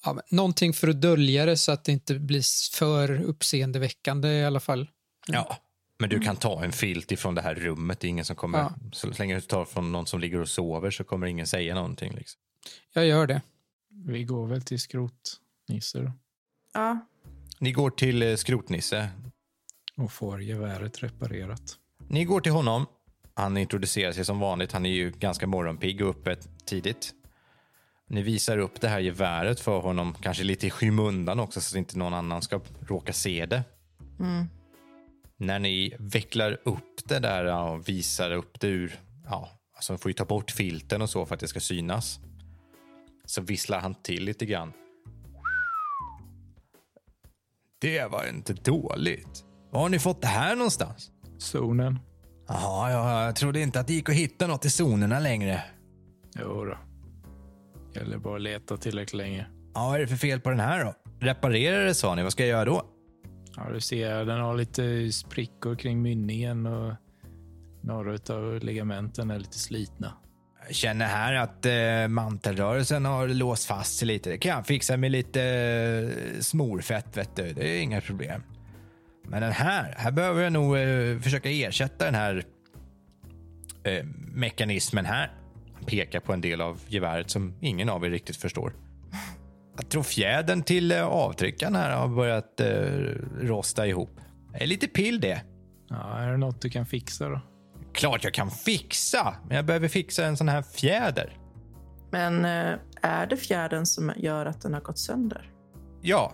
[SPEAKER 4] ja, men någonting för att dölja det så att det inte blir för uppseendeväckande i alla fall.
[SPEAKER 1] Ja. Men du kan ta en filt ifrån det här rummet. Det är ingen som kommer...
[SPEAKER 4] Mm. Ja.
[SPEAKER 1] Så länge du tar från någon som ligger och sover så kommer ingen säga någonting. Liksom.
[SPEAKER 4] Jag gör det.
[SPEAKER 3] Vi går väl till skrotnisse då.
[SPEAKER 5] Ja.
[SPEAKER 1] Ni går till eh, Skrotnisse.
[SPEAKER 3] Och får geväret reparerat.
[SPEAKER 1] Ni går till honom. Han introducerar sig som vanligt. Han är ju ganska morgonpigg och uppe tidigt. Ni visar upp det här geväret för honom, kanske lite i skymundan också så att inte någon annan ska råka se det.
[SPEAKER 5] Mm.
[SPEAKER 1] När ni vecklar upp det där ja, och visar upp det ur... Ja, alltså man får ju ta bort filten och så för att det ska synas. Så visslar han till lite grann. Det var inte dåligt. Var har ni fått det här någonstans?
[SPEAKER 3] Zonen.
[SPEAKER 1] Jaha, jag, jag trodde inte att det gick att hitta något i zonerna längre.
[SPEAKER 3] Jo då. Gäller bara att leta tillräckligt länge.
[SPEAKER 1] Ja, vad är det för fel på den här då? Reparera det sa ni, vad ska jag göra då?
[SPEAKER 3] Ja, du ser, den har lite sprickor kring mynningen och några av ligamenten är lite slitna.
[SPEAKER 1] Jag känner här att eh, mantelrörelsen har låst fast sig lite. Det kan jag fixa med lite eh, smorfett, vet du. Det är inga problem. Men den här, här behöver jag nog eh, försöka ersätta den här eh, mekanismen här. Han pekar på en del av geväret som ingen av er riktigt förstår. Jag tror fjädern till eh, avtryckaren här har börjat eh, rosta ihop. Det är lite pill det.
[SPEAKER 3] Ja, är det något du kan fixa då?
[SPEAKER 1] Klart jag kan fixa, men jag behöver fixa en sån här fjäder.
[SPEAKER 5] Men eh, är det fjärden som gör att den har gått sönder?
[SPEAKER 1] Ja,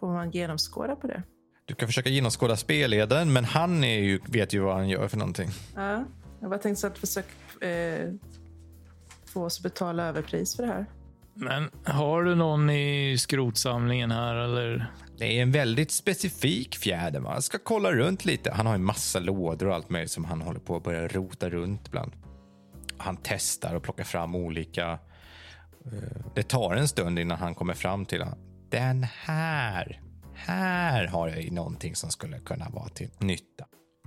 [SPEAKER 5] Får man genomskåda på det?
[SPEAKER 1] Du kan försöka genomskåda spelledaren, men han är ju, vet ju vad han gör för någonting.
[SPEAKER 5] Ja. Jag bara tänkte så att försöka eh, få oss att betala överpris för det här.
[SPEAKER 3] Men har du någon i skrotsamlingen här eller?
[SPEAKER 1] Det är en väldigt specifik fjäder. Man ska kolla runt lite. Han har en massa lådor och allt möjligt som han håller på att börja rota runt bland. Han testar och plockar fram olika... eh, Det tar en stund innan han kommer fram till, Den här. Här har jag ju någonting som skulle kunna vara till nytta.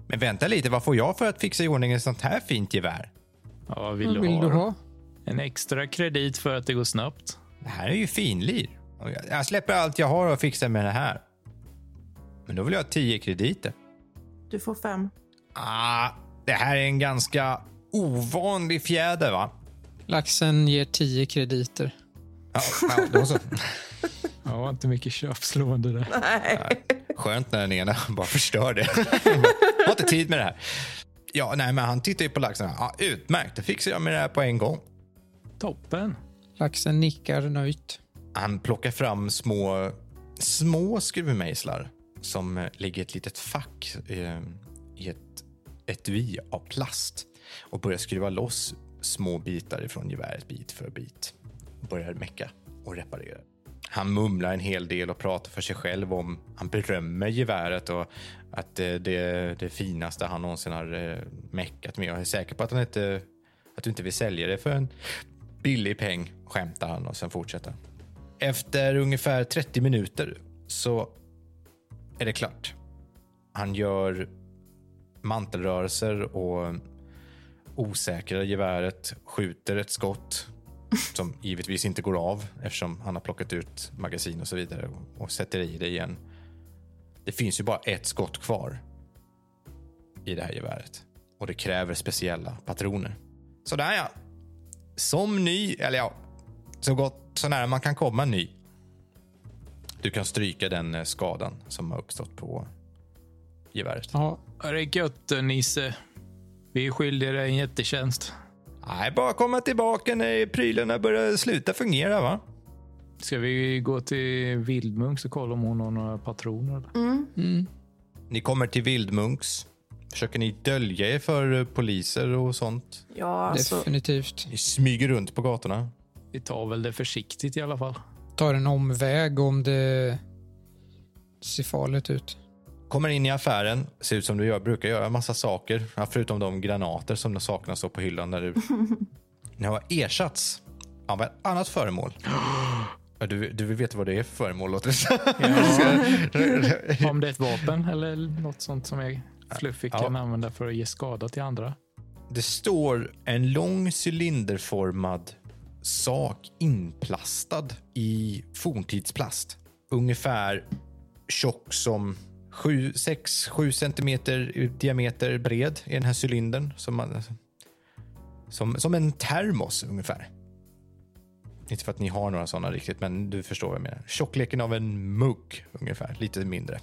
[SPEAKER 1] Men vänta lite, vad får jag för att fixa i ordning ett sånt här fint gevär?
[SPEAKER 3] Ja, vad vill,
[SPEAKER 4] Vad vill
[SPEAKER 3] du
[SPEAKER 4] du
[SPEAKER 3] ha?
[SPEAKER 4] ha?
[SPEAKER 3] En extra kredit för att det går snabbt.
[SPEAKER 1] Det här är ju finlir. Och jag- Jag släpper allt jag har och fixar med det här. Men då vill jag ha 10 krediter.
[SPEAKER 5] Du får fem.
[SPEAKER 1] Ah, det här är en ganska ovanlig fjäder, va?
[SPEAKER 4] Laxen ger 10 krediter.
[SPEAKER 1] Ja, ja, då så.
[SPEAKER 3] Ja, inte mycket köpslående där.
[SPEAKER 1] Skönt när den ena bara förstör det. Har inte tid med det här. Ja, nej, men han tittar ju på laxen. Ja, utmärkt, det fixar jag med det här på en gång.
[SPEAKER 3] Toppen.
[SPEAKER 4] Laxen nickar nöjt.
[SPEAKER 1] Han plockar fram små, små skruvmejslar som eh, ligger i ett litet fack eh, i ett etui av plast och börjar skruva loss små bitar ifrån geväret bit för bit. Börjar mecka och reparera. Han mumlar en hel del och pratar för sig själv om, han berömmer geväret och att eh, det är det finaste han någonsin har eh, meckat med. Jag är säker på att han inte, att du inte vill sälja det för en billig peng, skämtar han och sen fortsätter han. Efter ungefär 30 minuter så är det klart. Han gör mantelrörelser och osäkrar geväret, skjuter ett skott som givetvis inte går av eftersom han har plockat ut magasin och så vidare och, och sätter i det igen. Det finns ju bara ett skott kvar i det här geväret och det kräver speciella patroner. Sådär ja. Som ny, eller ja, så gott så nära man kan komma ny. Du kan stryka den eh, skadan som har uppstått på geväret.
[SPEAKER 4] Ja,
[SPEAKER 3] Ja, det är gött, Nisse. Vi är skyldiga dig en jättetjänst.
[SPEAKER 1] Nej, bara komma tillbaka när prylarna börjar sluta fungera, va?
[SPEAKER 3] Ska vi gå till Vildmunks och kolla om hon har några patroner? eller?
[SPEAKER 1] Ni kommer till Vildmunks. Försöker ni dölja er för eh, poliser och sånt?
[SPEAKER 5] Ja, alltså.
[SPEAKER 4] definitivt.
[SPEAKER 1] Ni smyger runt på gatorna.
[SPEAKER 3] Vi tar väl det försiktigt i alla fall.
[SPEAKER 4] Tar en omväg om det ser farligt ut.
[SPEAKER 1] Kommer in i affären, ser ut som du gör, brukar göra, en massa saker. Ja, Förutom de granater som de saknas så på hyllan där ute. Ni har ersatts av ett annat föremål. Ja, Du, du vill veta vad det är för föremål, låter det som.
[SPEAKER 3] Om det är ett vapen eller något sånt som jag fluffig kan använda för att ge skada till andra.
[SPEAKER 1] Det står en lång cylinderformad sak inplastad i forntidsplast. Ungefär tjock som 6-7 centimeter i diameter bred i den här cylindern. Som, man, som, som en termos ungefär. Inte för att ni har några sådana riktigt, men du förstår vad jag menar. Tjockleken av en mugg ungefär, lite mindre.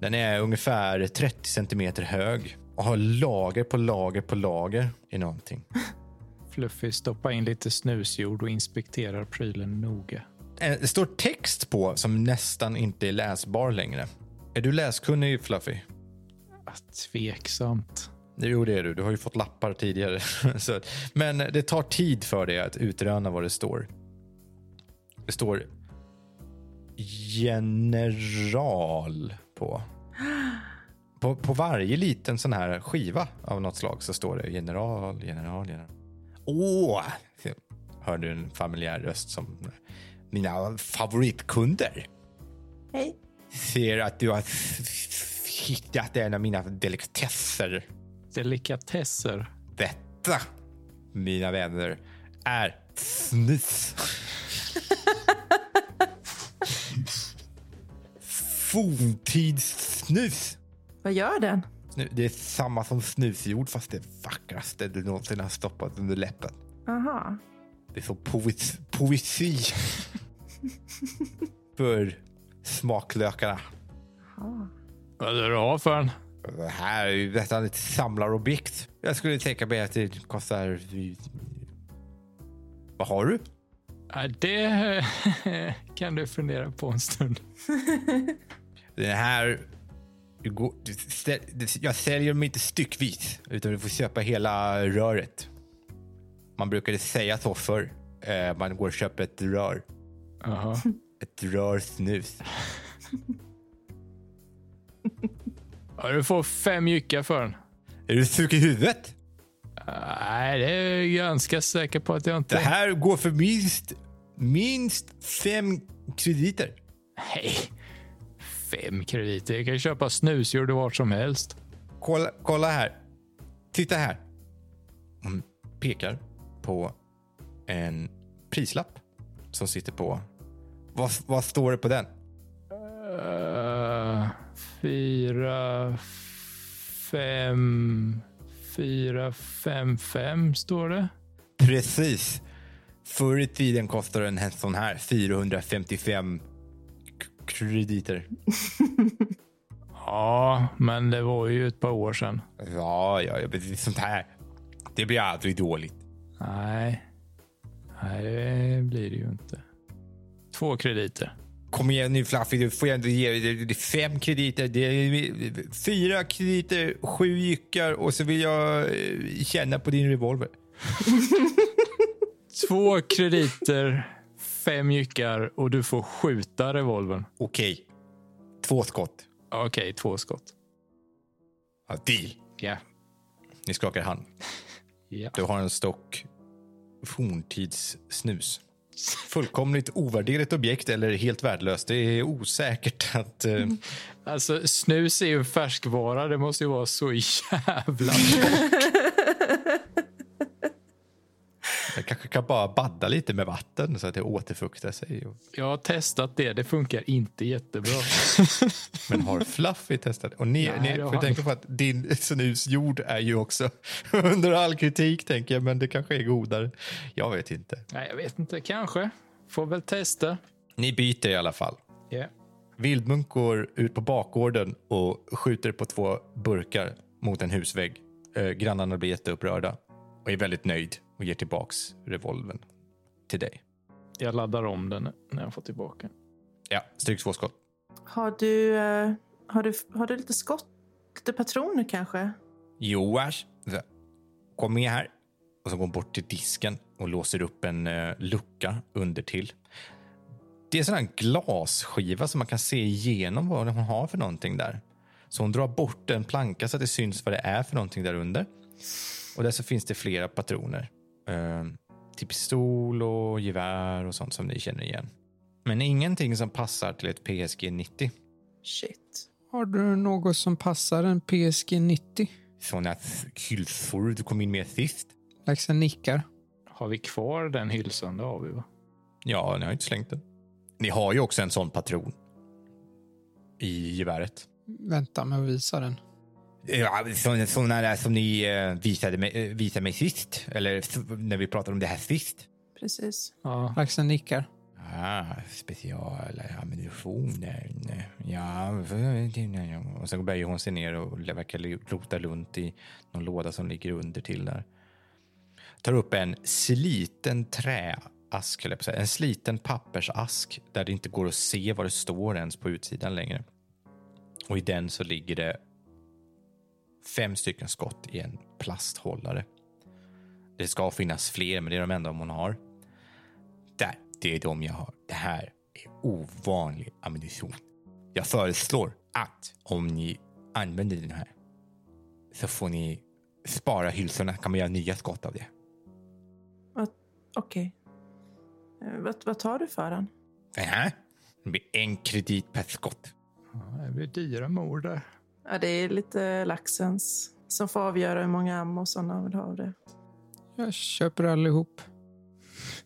[SPEAKER 1] Den är ungefär 30 centimeter hög och har lager på lager på lager i någonting.
[SPEAKER 3] Fluffy stoppar in lite snusjord och inspekterar prylen noga.
[SPEAKER 1] Eh, Det står text på som nästan inte är läsbar längre. Är du läskunnig Fluffy?
[SPEAKER 3] Ah, Tveksamt.
[SPEAKER 1] Jo, det är du. Du har ju fått lappar tidigare. Så, att- men det tar tid för dig att utröna vad det står. Det står general på. På, på varje liten sån här skiva av något slag så står det general, general, general. Åh! Hör du en familjär röst som mina favoritkunder
[SPEAKER 5] Hej.
[SPEAKER 1] ser att du har f- f- hittat en av mina delikatesser.
[SPEAKER 3] Delikatesser.
[SPEAKER 1] Detta, mina vänner, är snuff. Forntidssnus.
[SPEAKER 5] Vad gör den?
[SPEAKER 1] Snu- Det är samma som snusjord fast det vackraste du någonsin har stoppat under läppen.
[SPEAKER 5] Aha.
[SPEAKER 1] Det är som poesi, poesi. för smaklökarna.
[SPEAKER 3] Vad är det du har för en?
[SPEAKER 1] Det här är ju nästan ett samlarobjekt. Jag skulle tänka mig att det kostar... Vad har du?
[SPEAKER 3] Ja, det kan du fundera på en stund.
[SPEAKER 1] Den här... du går- du ställ- du- Jag säljer dem inte styckvis, utan du får köpa hela röret. Man brukade säga så förr. Eh, Man går och köper ett rör.
[SPEAKER 3] Jaha.
[SPEAKER 1] Ett rör snus.
[SPEAKER 3] Ja, du får fem jyckar för den.
[SPEAKER 1] Är du sjuk i huvudet?
[SPEAKER 3] Nej, det är jag ganska säker på att jag inte...
[SPEAKER 1] Det här går för minst minst fem krediter.
[SPEAKER 3] Nej. Fem krediter. Jag kan ju köpa snusjord vart som helst.
[SPEAKER 1] Kolla, kolla här. Titta här. Hon pekar på en prislapp som sitter på... Vad, vad står det på den?
[SPEAKER 3] Eh, fyra, fem, fyra, fem, fem står det.
[SPEAKER 1] Precis. Förr i tiden kostade en sån här 455 k- krediter.
[SPEAKER 3] Ja, men det var ju ett par år sedan.
[SPEAKER 1] Ja, ja, ja, men sånt här. Det blir aldrig dåligt.
[SPEAKER 3] Nej. Nej, det blir det ju inte. Två krediter.
[SPEAKER 1] Kom igen nu Fluffy, du får ju ändå ge det- det är fem krediter. Det är fyra krediter, sju jyckar och så vill jag eh, känna på din revolver.
[SPEAKER 3] Två krediter, fem jyckar och du får skjuta revolvern.
[SPEAKER 1] Okej. Två skott.
[SPEAKER 3] Okej, två skott.
[SPEAKER 1] Ja, deal.
[SPEAKER 3] Ja.
[SPEAKER 1] Ni skakar hand.
[SPEAKER 3] ja.
[SPEAKER 1] Du har en stock forntidssnus. Fullkomligt ovärderligt objekt eller helt värdelöst. Det är osäkert att... eh,
[SPEAKER 3] Alltså, snus är ju en färskvara. Det måste ju vara så jävla...
[SPEAKER 1] jag kanske kan bara badda lite med vatten så att det återfuktar sig. och-
[SPEAKER 3] Jag har testat det. Det funkar inte jättebra.
[SPEAKER 1] Men har Fluffy testat? Och ni,
[SPEAKER 3] Nej,
[SPEAKER 1] ni
[SPEAKER 3] det har
[SPEAKER 1] får
[SPEAKER 3] han.
[SPEAKER 1] tänka på att din snusjord är ju också under all kritik, tänker jag. Men det kanske är godare. Jag vet inte.
[SPEAKER 3] Nej, jag vet inte. Kanske. Får väl testa.
[SPEAKER 1] Ni byter i alla fall.
[SPEAKER 3] Ja.
[SPEAKER 1] Vildmunk går ut på bakgården och skjuter på två burkar mot en husvägg. Eh, grannarna blir jätteupprörda och är väldigt nöjd och ger tillbaks revolven till dig.
[SPEAKER 3] Jag laddar om den när jag får tillbaka den.
[SPEAKER 1] Ja, stryk två skott.
[SPEAKER 5] Har du, eh, har du, har du lite skott? Lite patroner kanske?
[SPEAKER 1] Joars, så, kom med här. Och så går hon bort till disken och låser upp en eh, lucka under till. Det är en sån här glasskiva som man kan se igenom vad hon har för någonting där. Så hon drar bort en planka så att det syns vad det är för någonting där under. Och där så finns det flera patroner. Eh, till pistol och gevär och sånt som ni känner igen. Men ingenting som passar till ett PSG 90.
[SPEAKER 5] Shit.
[SPEAKER 4] Har du något som passar en PSG 90?
[SPEAKER 1] Såna hylsor du kom in med sist.
[SPEAKER 4] Laxen nickar.
[SPEAKER 3] Har vi kvar den hylsan? Det har vi, va?
[SPEAKER 1] Ja, ni har inte slängt den. Ni har ju också en sån patron. I geväret.
[SPEAKER 4] Vänta med att visa den.
[SPEAKER 1] Ja, så- såna där som ni eh, visade mig, eh, visade mig sist. Eller s- när vi pratade om det här sist.
[SPEAKER 5] Precis.
[SPEAKER 3] Ja.
[SPEAKER 4] Laxen nickar.
[SPEAKER 1] Ah, specialammunitioner. Ja, och sen böjer hon sig ner och verkar lota runt i någon låda som ligger under till där. Tar upp en sliten träask, höll jag på att säga. en sliten pappersask där det inte går att se vad det står ens på utsidan längre. Och i den så ligger det fem stycken skott i en plasthållare. Det ska finnas fler, men det är de enda hon har. Där, det är de jag har. Det här är ovanlig ammunition. Jag föreslår att om ni använder den här så får ni spara hylsorna, kan man göra nya skott av det.
[SPEAKER 5] Okej. Eh, Vad, vad tar du för den?
[SPEAKER 1] Den här? Det blir en kredit per skott.
[SPEAKER 3] ja det blir dyra mord där.
[SPEAKER 5] Ja, det är lite laxens som får avgöra hur många ammo sådana vill ha av det.
[SPEAKER 4] Jag köper allihop.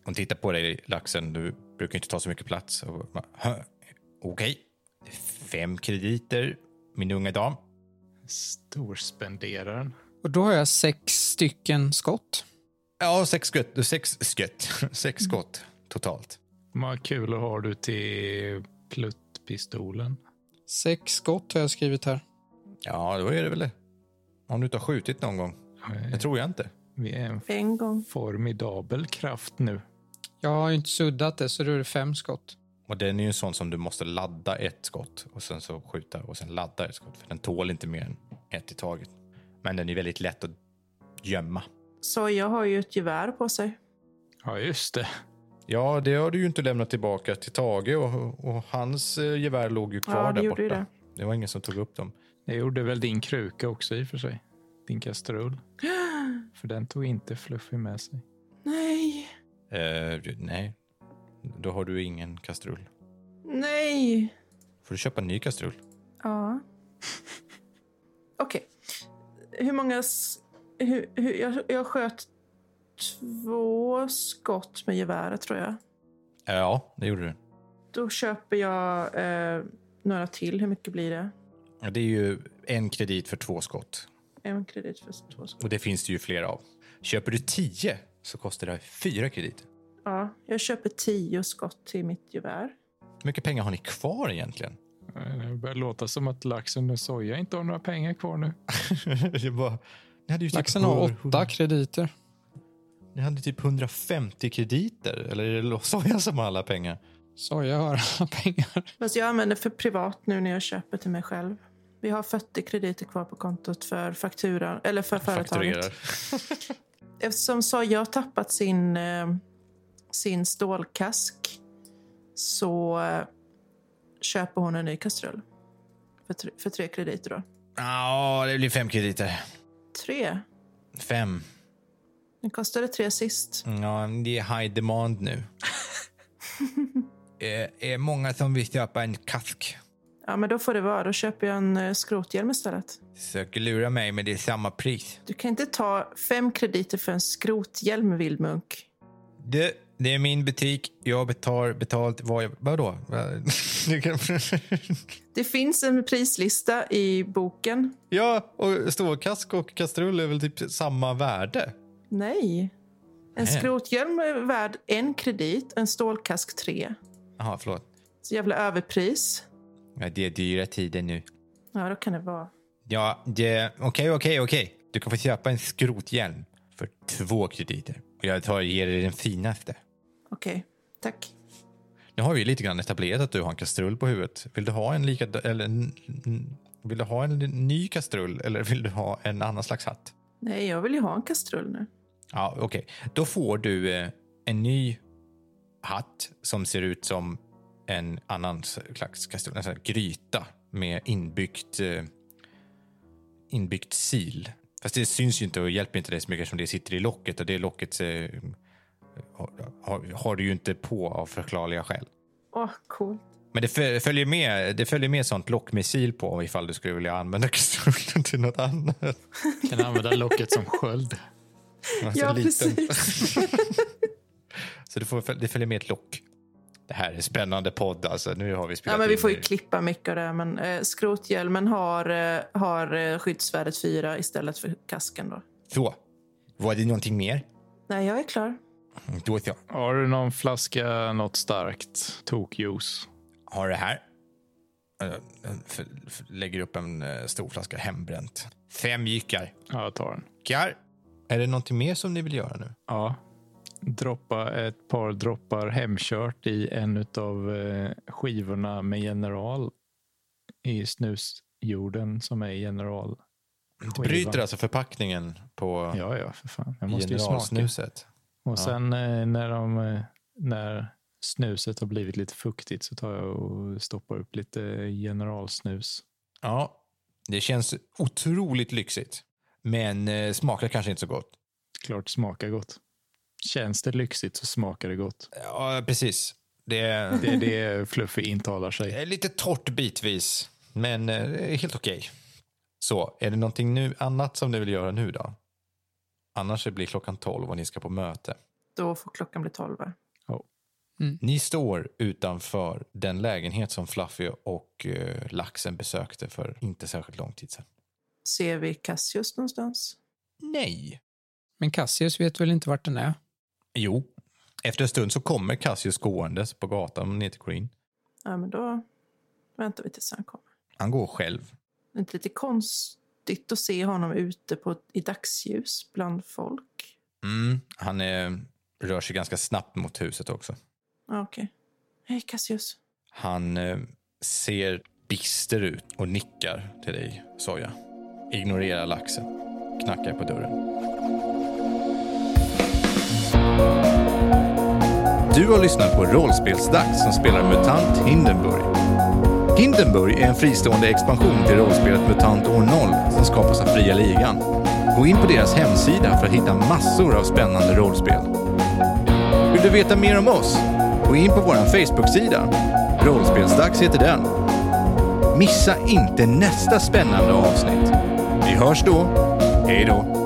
[SPEAKER 1] Hon tittar på dig, laxen. Du brukar inte ta så mycket plats. Och bara, "Hä? Okej, fem krediter, min unga dam.
[SPEAKER 3] Storspenderaren.
[SPEAKER 4] Och då har jag sex stycken skott.
[SPEAKER 1] Ja, sex skott. Sex, skott. sex skott totalt.
[SPEAKER 3] Hur många kulor har du till pluttpistolen?
[SPEAKER 4] Sex skott har jag skrivit här.
[SPEAKER 1] Ja, då är det väl det. Om du inte har skjutit någon gång. Det tror jag inte.
[SPEAKER 3] Vi är en
[SPEAKER 5] En gång.
[SPEAKER 3] formidabel kraft nu.
[SPEAKER 4] Jag har ju inte suddat det, så då är det fem skott.
[SPEAKER 1] Och den är ju en sån som du måste ladda ett skott och sen så skjuta och sen ladda ett skott. För den tål inte mer än ett i taget. Men den är väldigt lätt att gömma.
[SPEAKER 5] Så jag har ju ett gevär på sig.
[SPEAKER 3] Ja, just det.
[SPEAKER 1] Ja, det har du ju inte lämnat tillbaka till Tage och, och hans eh, gevär låg ju kvar
[SPEAKER 5] Ja, det
[SPEAKER 1] där
[SPEAKER 5] gjorde
[SPEAKER 1] borta.
[SPEAKER 5] ju
[SPEAKER 1] Det. var ingen som tog upp dem.
[SPEAKER 3] Det gjorde väl din kruka också i och för sig. Din kastrull. För den tog inte Fluffy med sig.
[SPEAKER 5] Nej.
[SPEAKER 1] Eh, nej, Då har du ingen kastrull.
[SPEAKER 5] Nej!
[SPEAKER 1] Får du köpa en ny kastrull?
[SPEAKER 5] Ja. Okej. Hur många... s- Hur, hur, jag, jag sköt två skott med geväret, tror jag.
[SPEAKER 1] Eh, Ja, det gjorde du.
[SPEAKER 5] Då köper jag eh, några till. Hur mycket blir det?
[SPEAKER 1] Ja, Det är ju en kredit för två skott.
[SPEAKER 5] En kredit för två skott.
[SPEAKER 1] Och det finns det ju flera av. Köper du tio så kostar det fyra krediter.
[SPEAKER 5] Ja, jag köper tio skott till mitt gevär.
[SPEAKER 1] Hur mycket pengar har ni kvar egentligen?
[SPEAKER 3] Det börjar låta som att laxen och soja inte har några pengar kvar nu.
[SPEAKER 1] det var, ni hade ju typ
[SPEAKER 4] Laxen har
[SPEAKER 1] hur-
[SPEAKER 4] åtta krediter.
[SPEAKER 1] Ni hade typ 150 krediter. Eller är det soja som har alla pengar?
[SPEAKER 4] Soja har alla pengar.
[SPEAKER 5] Fast jag använder för privat nu när jag köper till mig själv. Vi har 40 krediter kvar på kontot för fakturan, eller för företaget.
[SPEAKER 1] Fakturerar.
[SPEAKER 5] Eftersom Soja har tappat sin, eh, sin stålkask så eh, köper hon en ny kastrull. För tre, för tre krediter då.
[SPEAKER 1] Ja, det blir fem krediter.
[SPEAKER 5] Tre?
[SPEAKER 1] Fem.
[SPEAKER 5] Den kostade tre sist.
[SPEAKER 1] Ja, det är high demand nu. Det är många som vill köpa en kask.
[SPEAKER 5] Ja, men då får det vara. Då köper jag en eh, skrothjälm istället.
[SPEAKER 1] Försöker lura mig, men det är samma pris.
[SPEAKER 5] Du kan inte ta fem krediter för en skrothjälm, Vildmunk.
[SPEAKER 1] Du, det är min butik. Jag betalar betalt vad jag... Vadå? Du kan-
[SPEAKER 5] Det finns en prislista i boken.
[SPEAKER 1] ja, och stålkask och kastrull är väl typ samma värde?
[SPEAKER 5] Nej. En
[SPEAKER 1] Nej.
[SPEAKER 5] skrothjälm är värd en kredit, en stålkask tre.
[SPEAKER 1] Jaha, förlåt.
[SPEAKER 5] Så jävla överpris.
[SPEAKER 1] Ja, det är dyra tider nu.
[SPEAKER 5] Ja, då kan det vara.
[SPEAKER 1] Ja, det... Okej, okej, okej. Du kan få köpa en skrothjälm för två krediter. Och jag tar ger dig den finaste.
[SPEAKER 5] Okej, tack.
[SPEAKER 1] Nu har vi ju lite grann etablerat att du har en kastrull på huvudet. Vill du ha en lika... Eller, n- n- vill du ha en ny kastrull eller vill du ha en annan slags hatt?
[SPEAKER 5] Nej, jag vill ju ha en kastrull nu.
[SPEAKER 1] Ja, okej. Då får du eh, en ny hatt som ser ut som en annan slags kastrull. En sån här gryta med inbyggt, eh, inbyggt sil. Fast det syns ju inte och hjälper inte dig så mycket som det sitter i locket och det locket eh, har, har, har du ju inte på av förklarliga skäl.
[SPEAKER 5] Åh, coolt.
[SPEAKER 1] Men det fö- följer med, det följer med sånt lockmissil på ifall du skulle vilja använda kastrullen till något annat.
[SPEAKER 3] Kan använda locket som sköld.
[SPEAKER 1] Alltså
[SPEAKER 5] Ja,
[SPEAKER 1] liten.
[SPEAKER 5] precis.
[SPEAKER 1] Så du får, föl- det följer med ett lock. Det här är en spännande podd. Alltså, nu har vi spelat
[SPEAKER 5] Ja, men vi
[SPEAKER 1] in
[SPEAKER 5] får ju
[SPEAKER 1] i-
[SPEAKER 5] klippa mycket av det. här, Men eh, skrothjälmen har, eh, har eh, skyddsvärdet fyra istället för kasken då.
[SPEAKER 1] Så. Var det någonting mer?
[SPEAKER 5] Nej, jag är klar.
[SPEAKER 1] Mm, Då vet jag.
[SPEAKER 3] Har du någon flaska något starkt? Tokjuice.
[SPEAKER 1] Har det här. Eh, eh, f- f- Lägger upp en eh, stor flaska hembränt. Fem jyckar.
[SPEAKER 3] Ja, jag tar den.
[SPEAKER 1] Jyckar. Är det någonting mer som ni vill göra nu?
[SPEAKER 3] Ja. Droppa ett par droppar hemkört i en av skivorna med general i snusjorden som är general.
[SPEAKER 1] Du bryter alltså förpackningen på
[SPEAKER 3] Ja, ja, för fan. Jag måste ju smaka.
[SPEAKER 1] generalsnuset.
[SPEAKER 3] Och sen eh, när, de, eh, när snuset har blivit lite fuktigt så tar jag och stoppar upp lite generalsnus.
[SPEAKER 1] Ja. Det känns otroligt lyxigt. Men eh, smakar kanske inte så gott.
[SPEAKER 3] Klart smakar gott. Känns det lyxigt så smakar det gott.
[SPEAKER 1] Ja, precis. Det
[SPEAKER 3] Det är det Fluffy intalar sig.
[SPEAKER 1] Det är lite torrt bitvis, men eh, det är helt okej. Så, är det någonting nu, annat som du vill göra nu då? Annars så blir klockan 12 och ni ska på möte.
[SPEAKER 5] Då får klockan bli tolv. va?
[SPEAKER 1] Ni står utanför den lägenhet som Fluffy och eh, Laxen besökte för inte särskilt lång tid sedan.
[SPEAKER 5] Ser vi Cassius någonstans?
[SPEAKER 1] Nej.
[SPEAKER 4] Men Cassius vet väl inte vart den är?
[SPEAKER 1] Jo. Efter en stund så kommer Cassius gåendes på gatan ner till Green.
[SPEAKER 5] Ja, men då väntar vi tills han kommer.
[SPEAKER 1] Han går själv.
[SPEAKER 5] Det är inte lite konstigt att se honom ute på, i dagsljus bland folk.
[SPEAKER 1] Mm. Han eh, rör sig ganska snabbt mot huset också.
[SPEAKER 5] Ja, okej. Hej Cassius.
[SPEAKER 1] Han eh, ser bister ut och nickar till dig, Soja. Ignorerar laxen. Knackar på dörren. Du har lyssnat på Rollspelsdags som spelar MUTANT Hindenburg. Hindenburg är en fristående expansion till rollspelet MUTANT år 0 som skapas av Fria Ligan. Gå in på deras hemsida för att hitta massor av spännande rollspel. Vill du veta mer om oss? Gå in på vår Facebook-sida. Rollspelsdags heter den.
[SPEAKER 2] Missa inte nästa spännande avsnitt.
[SPEAKER 1] Vi hörs då. Hej då.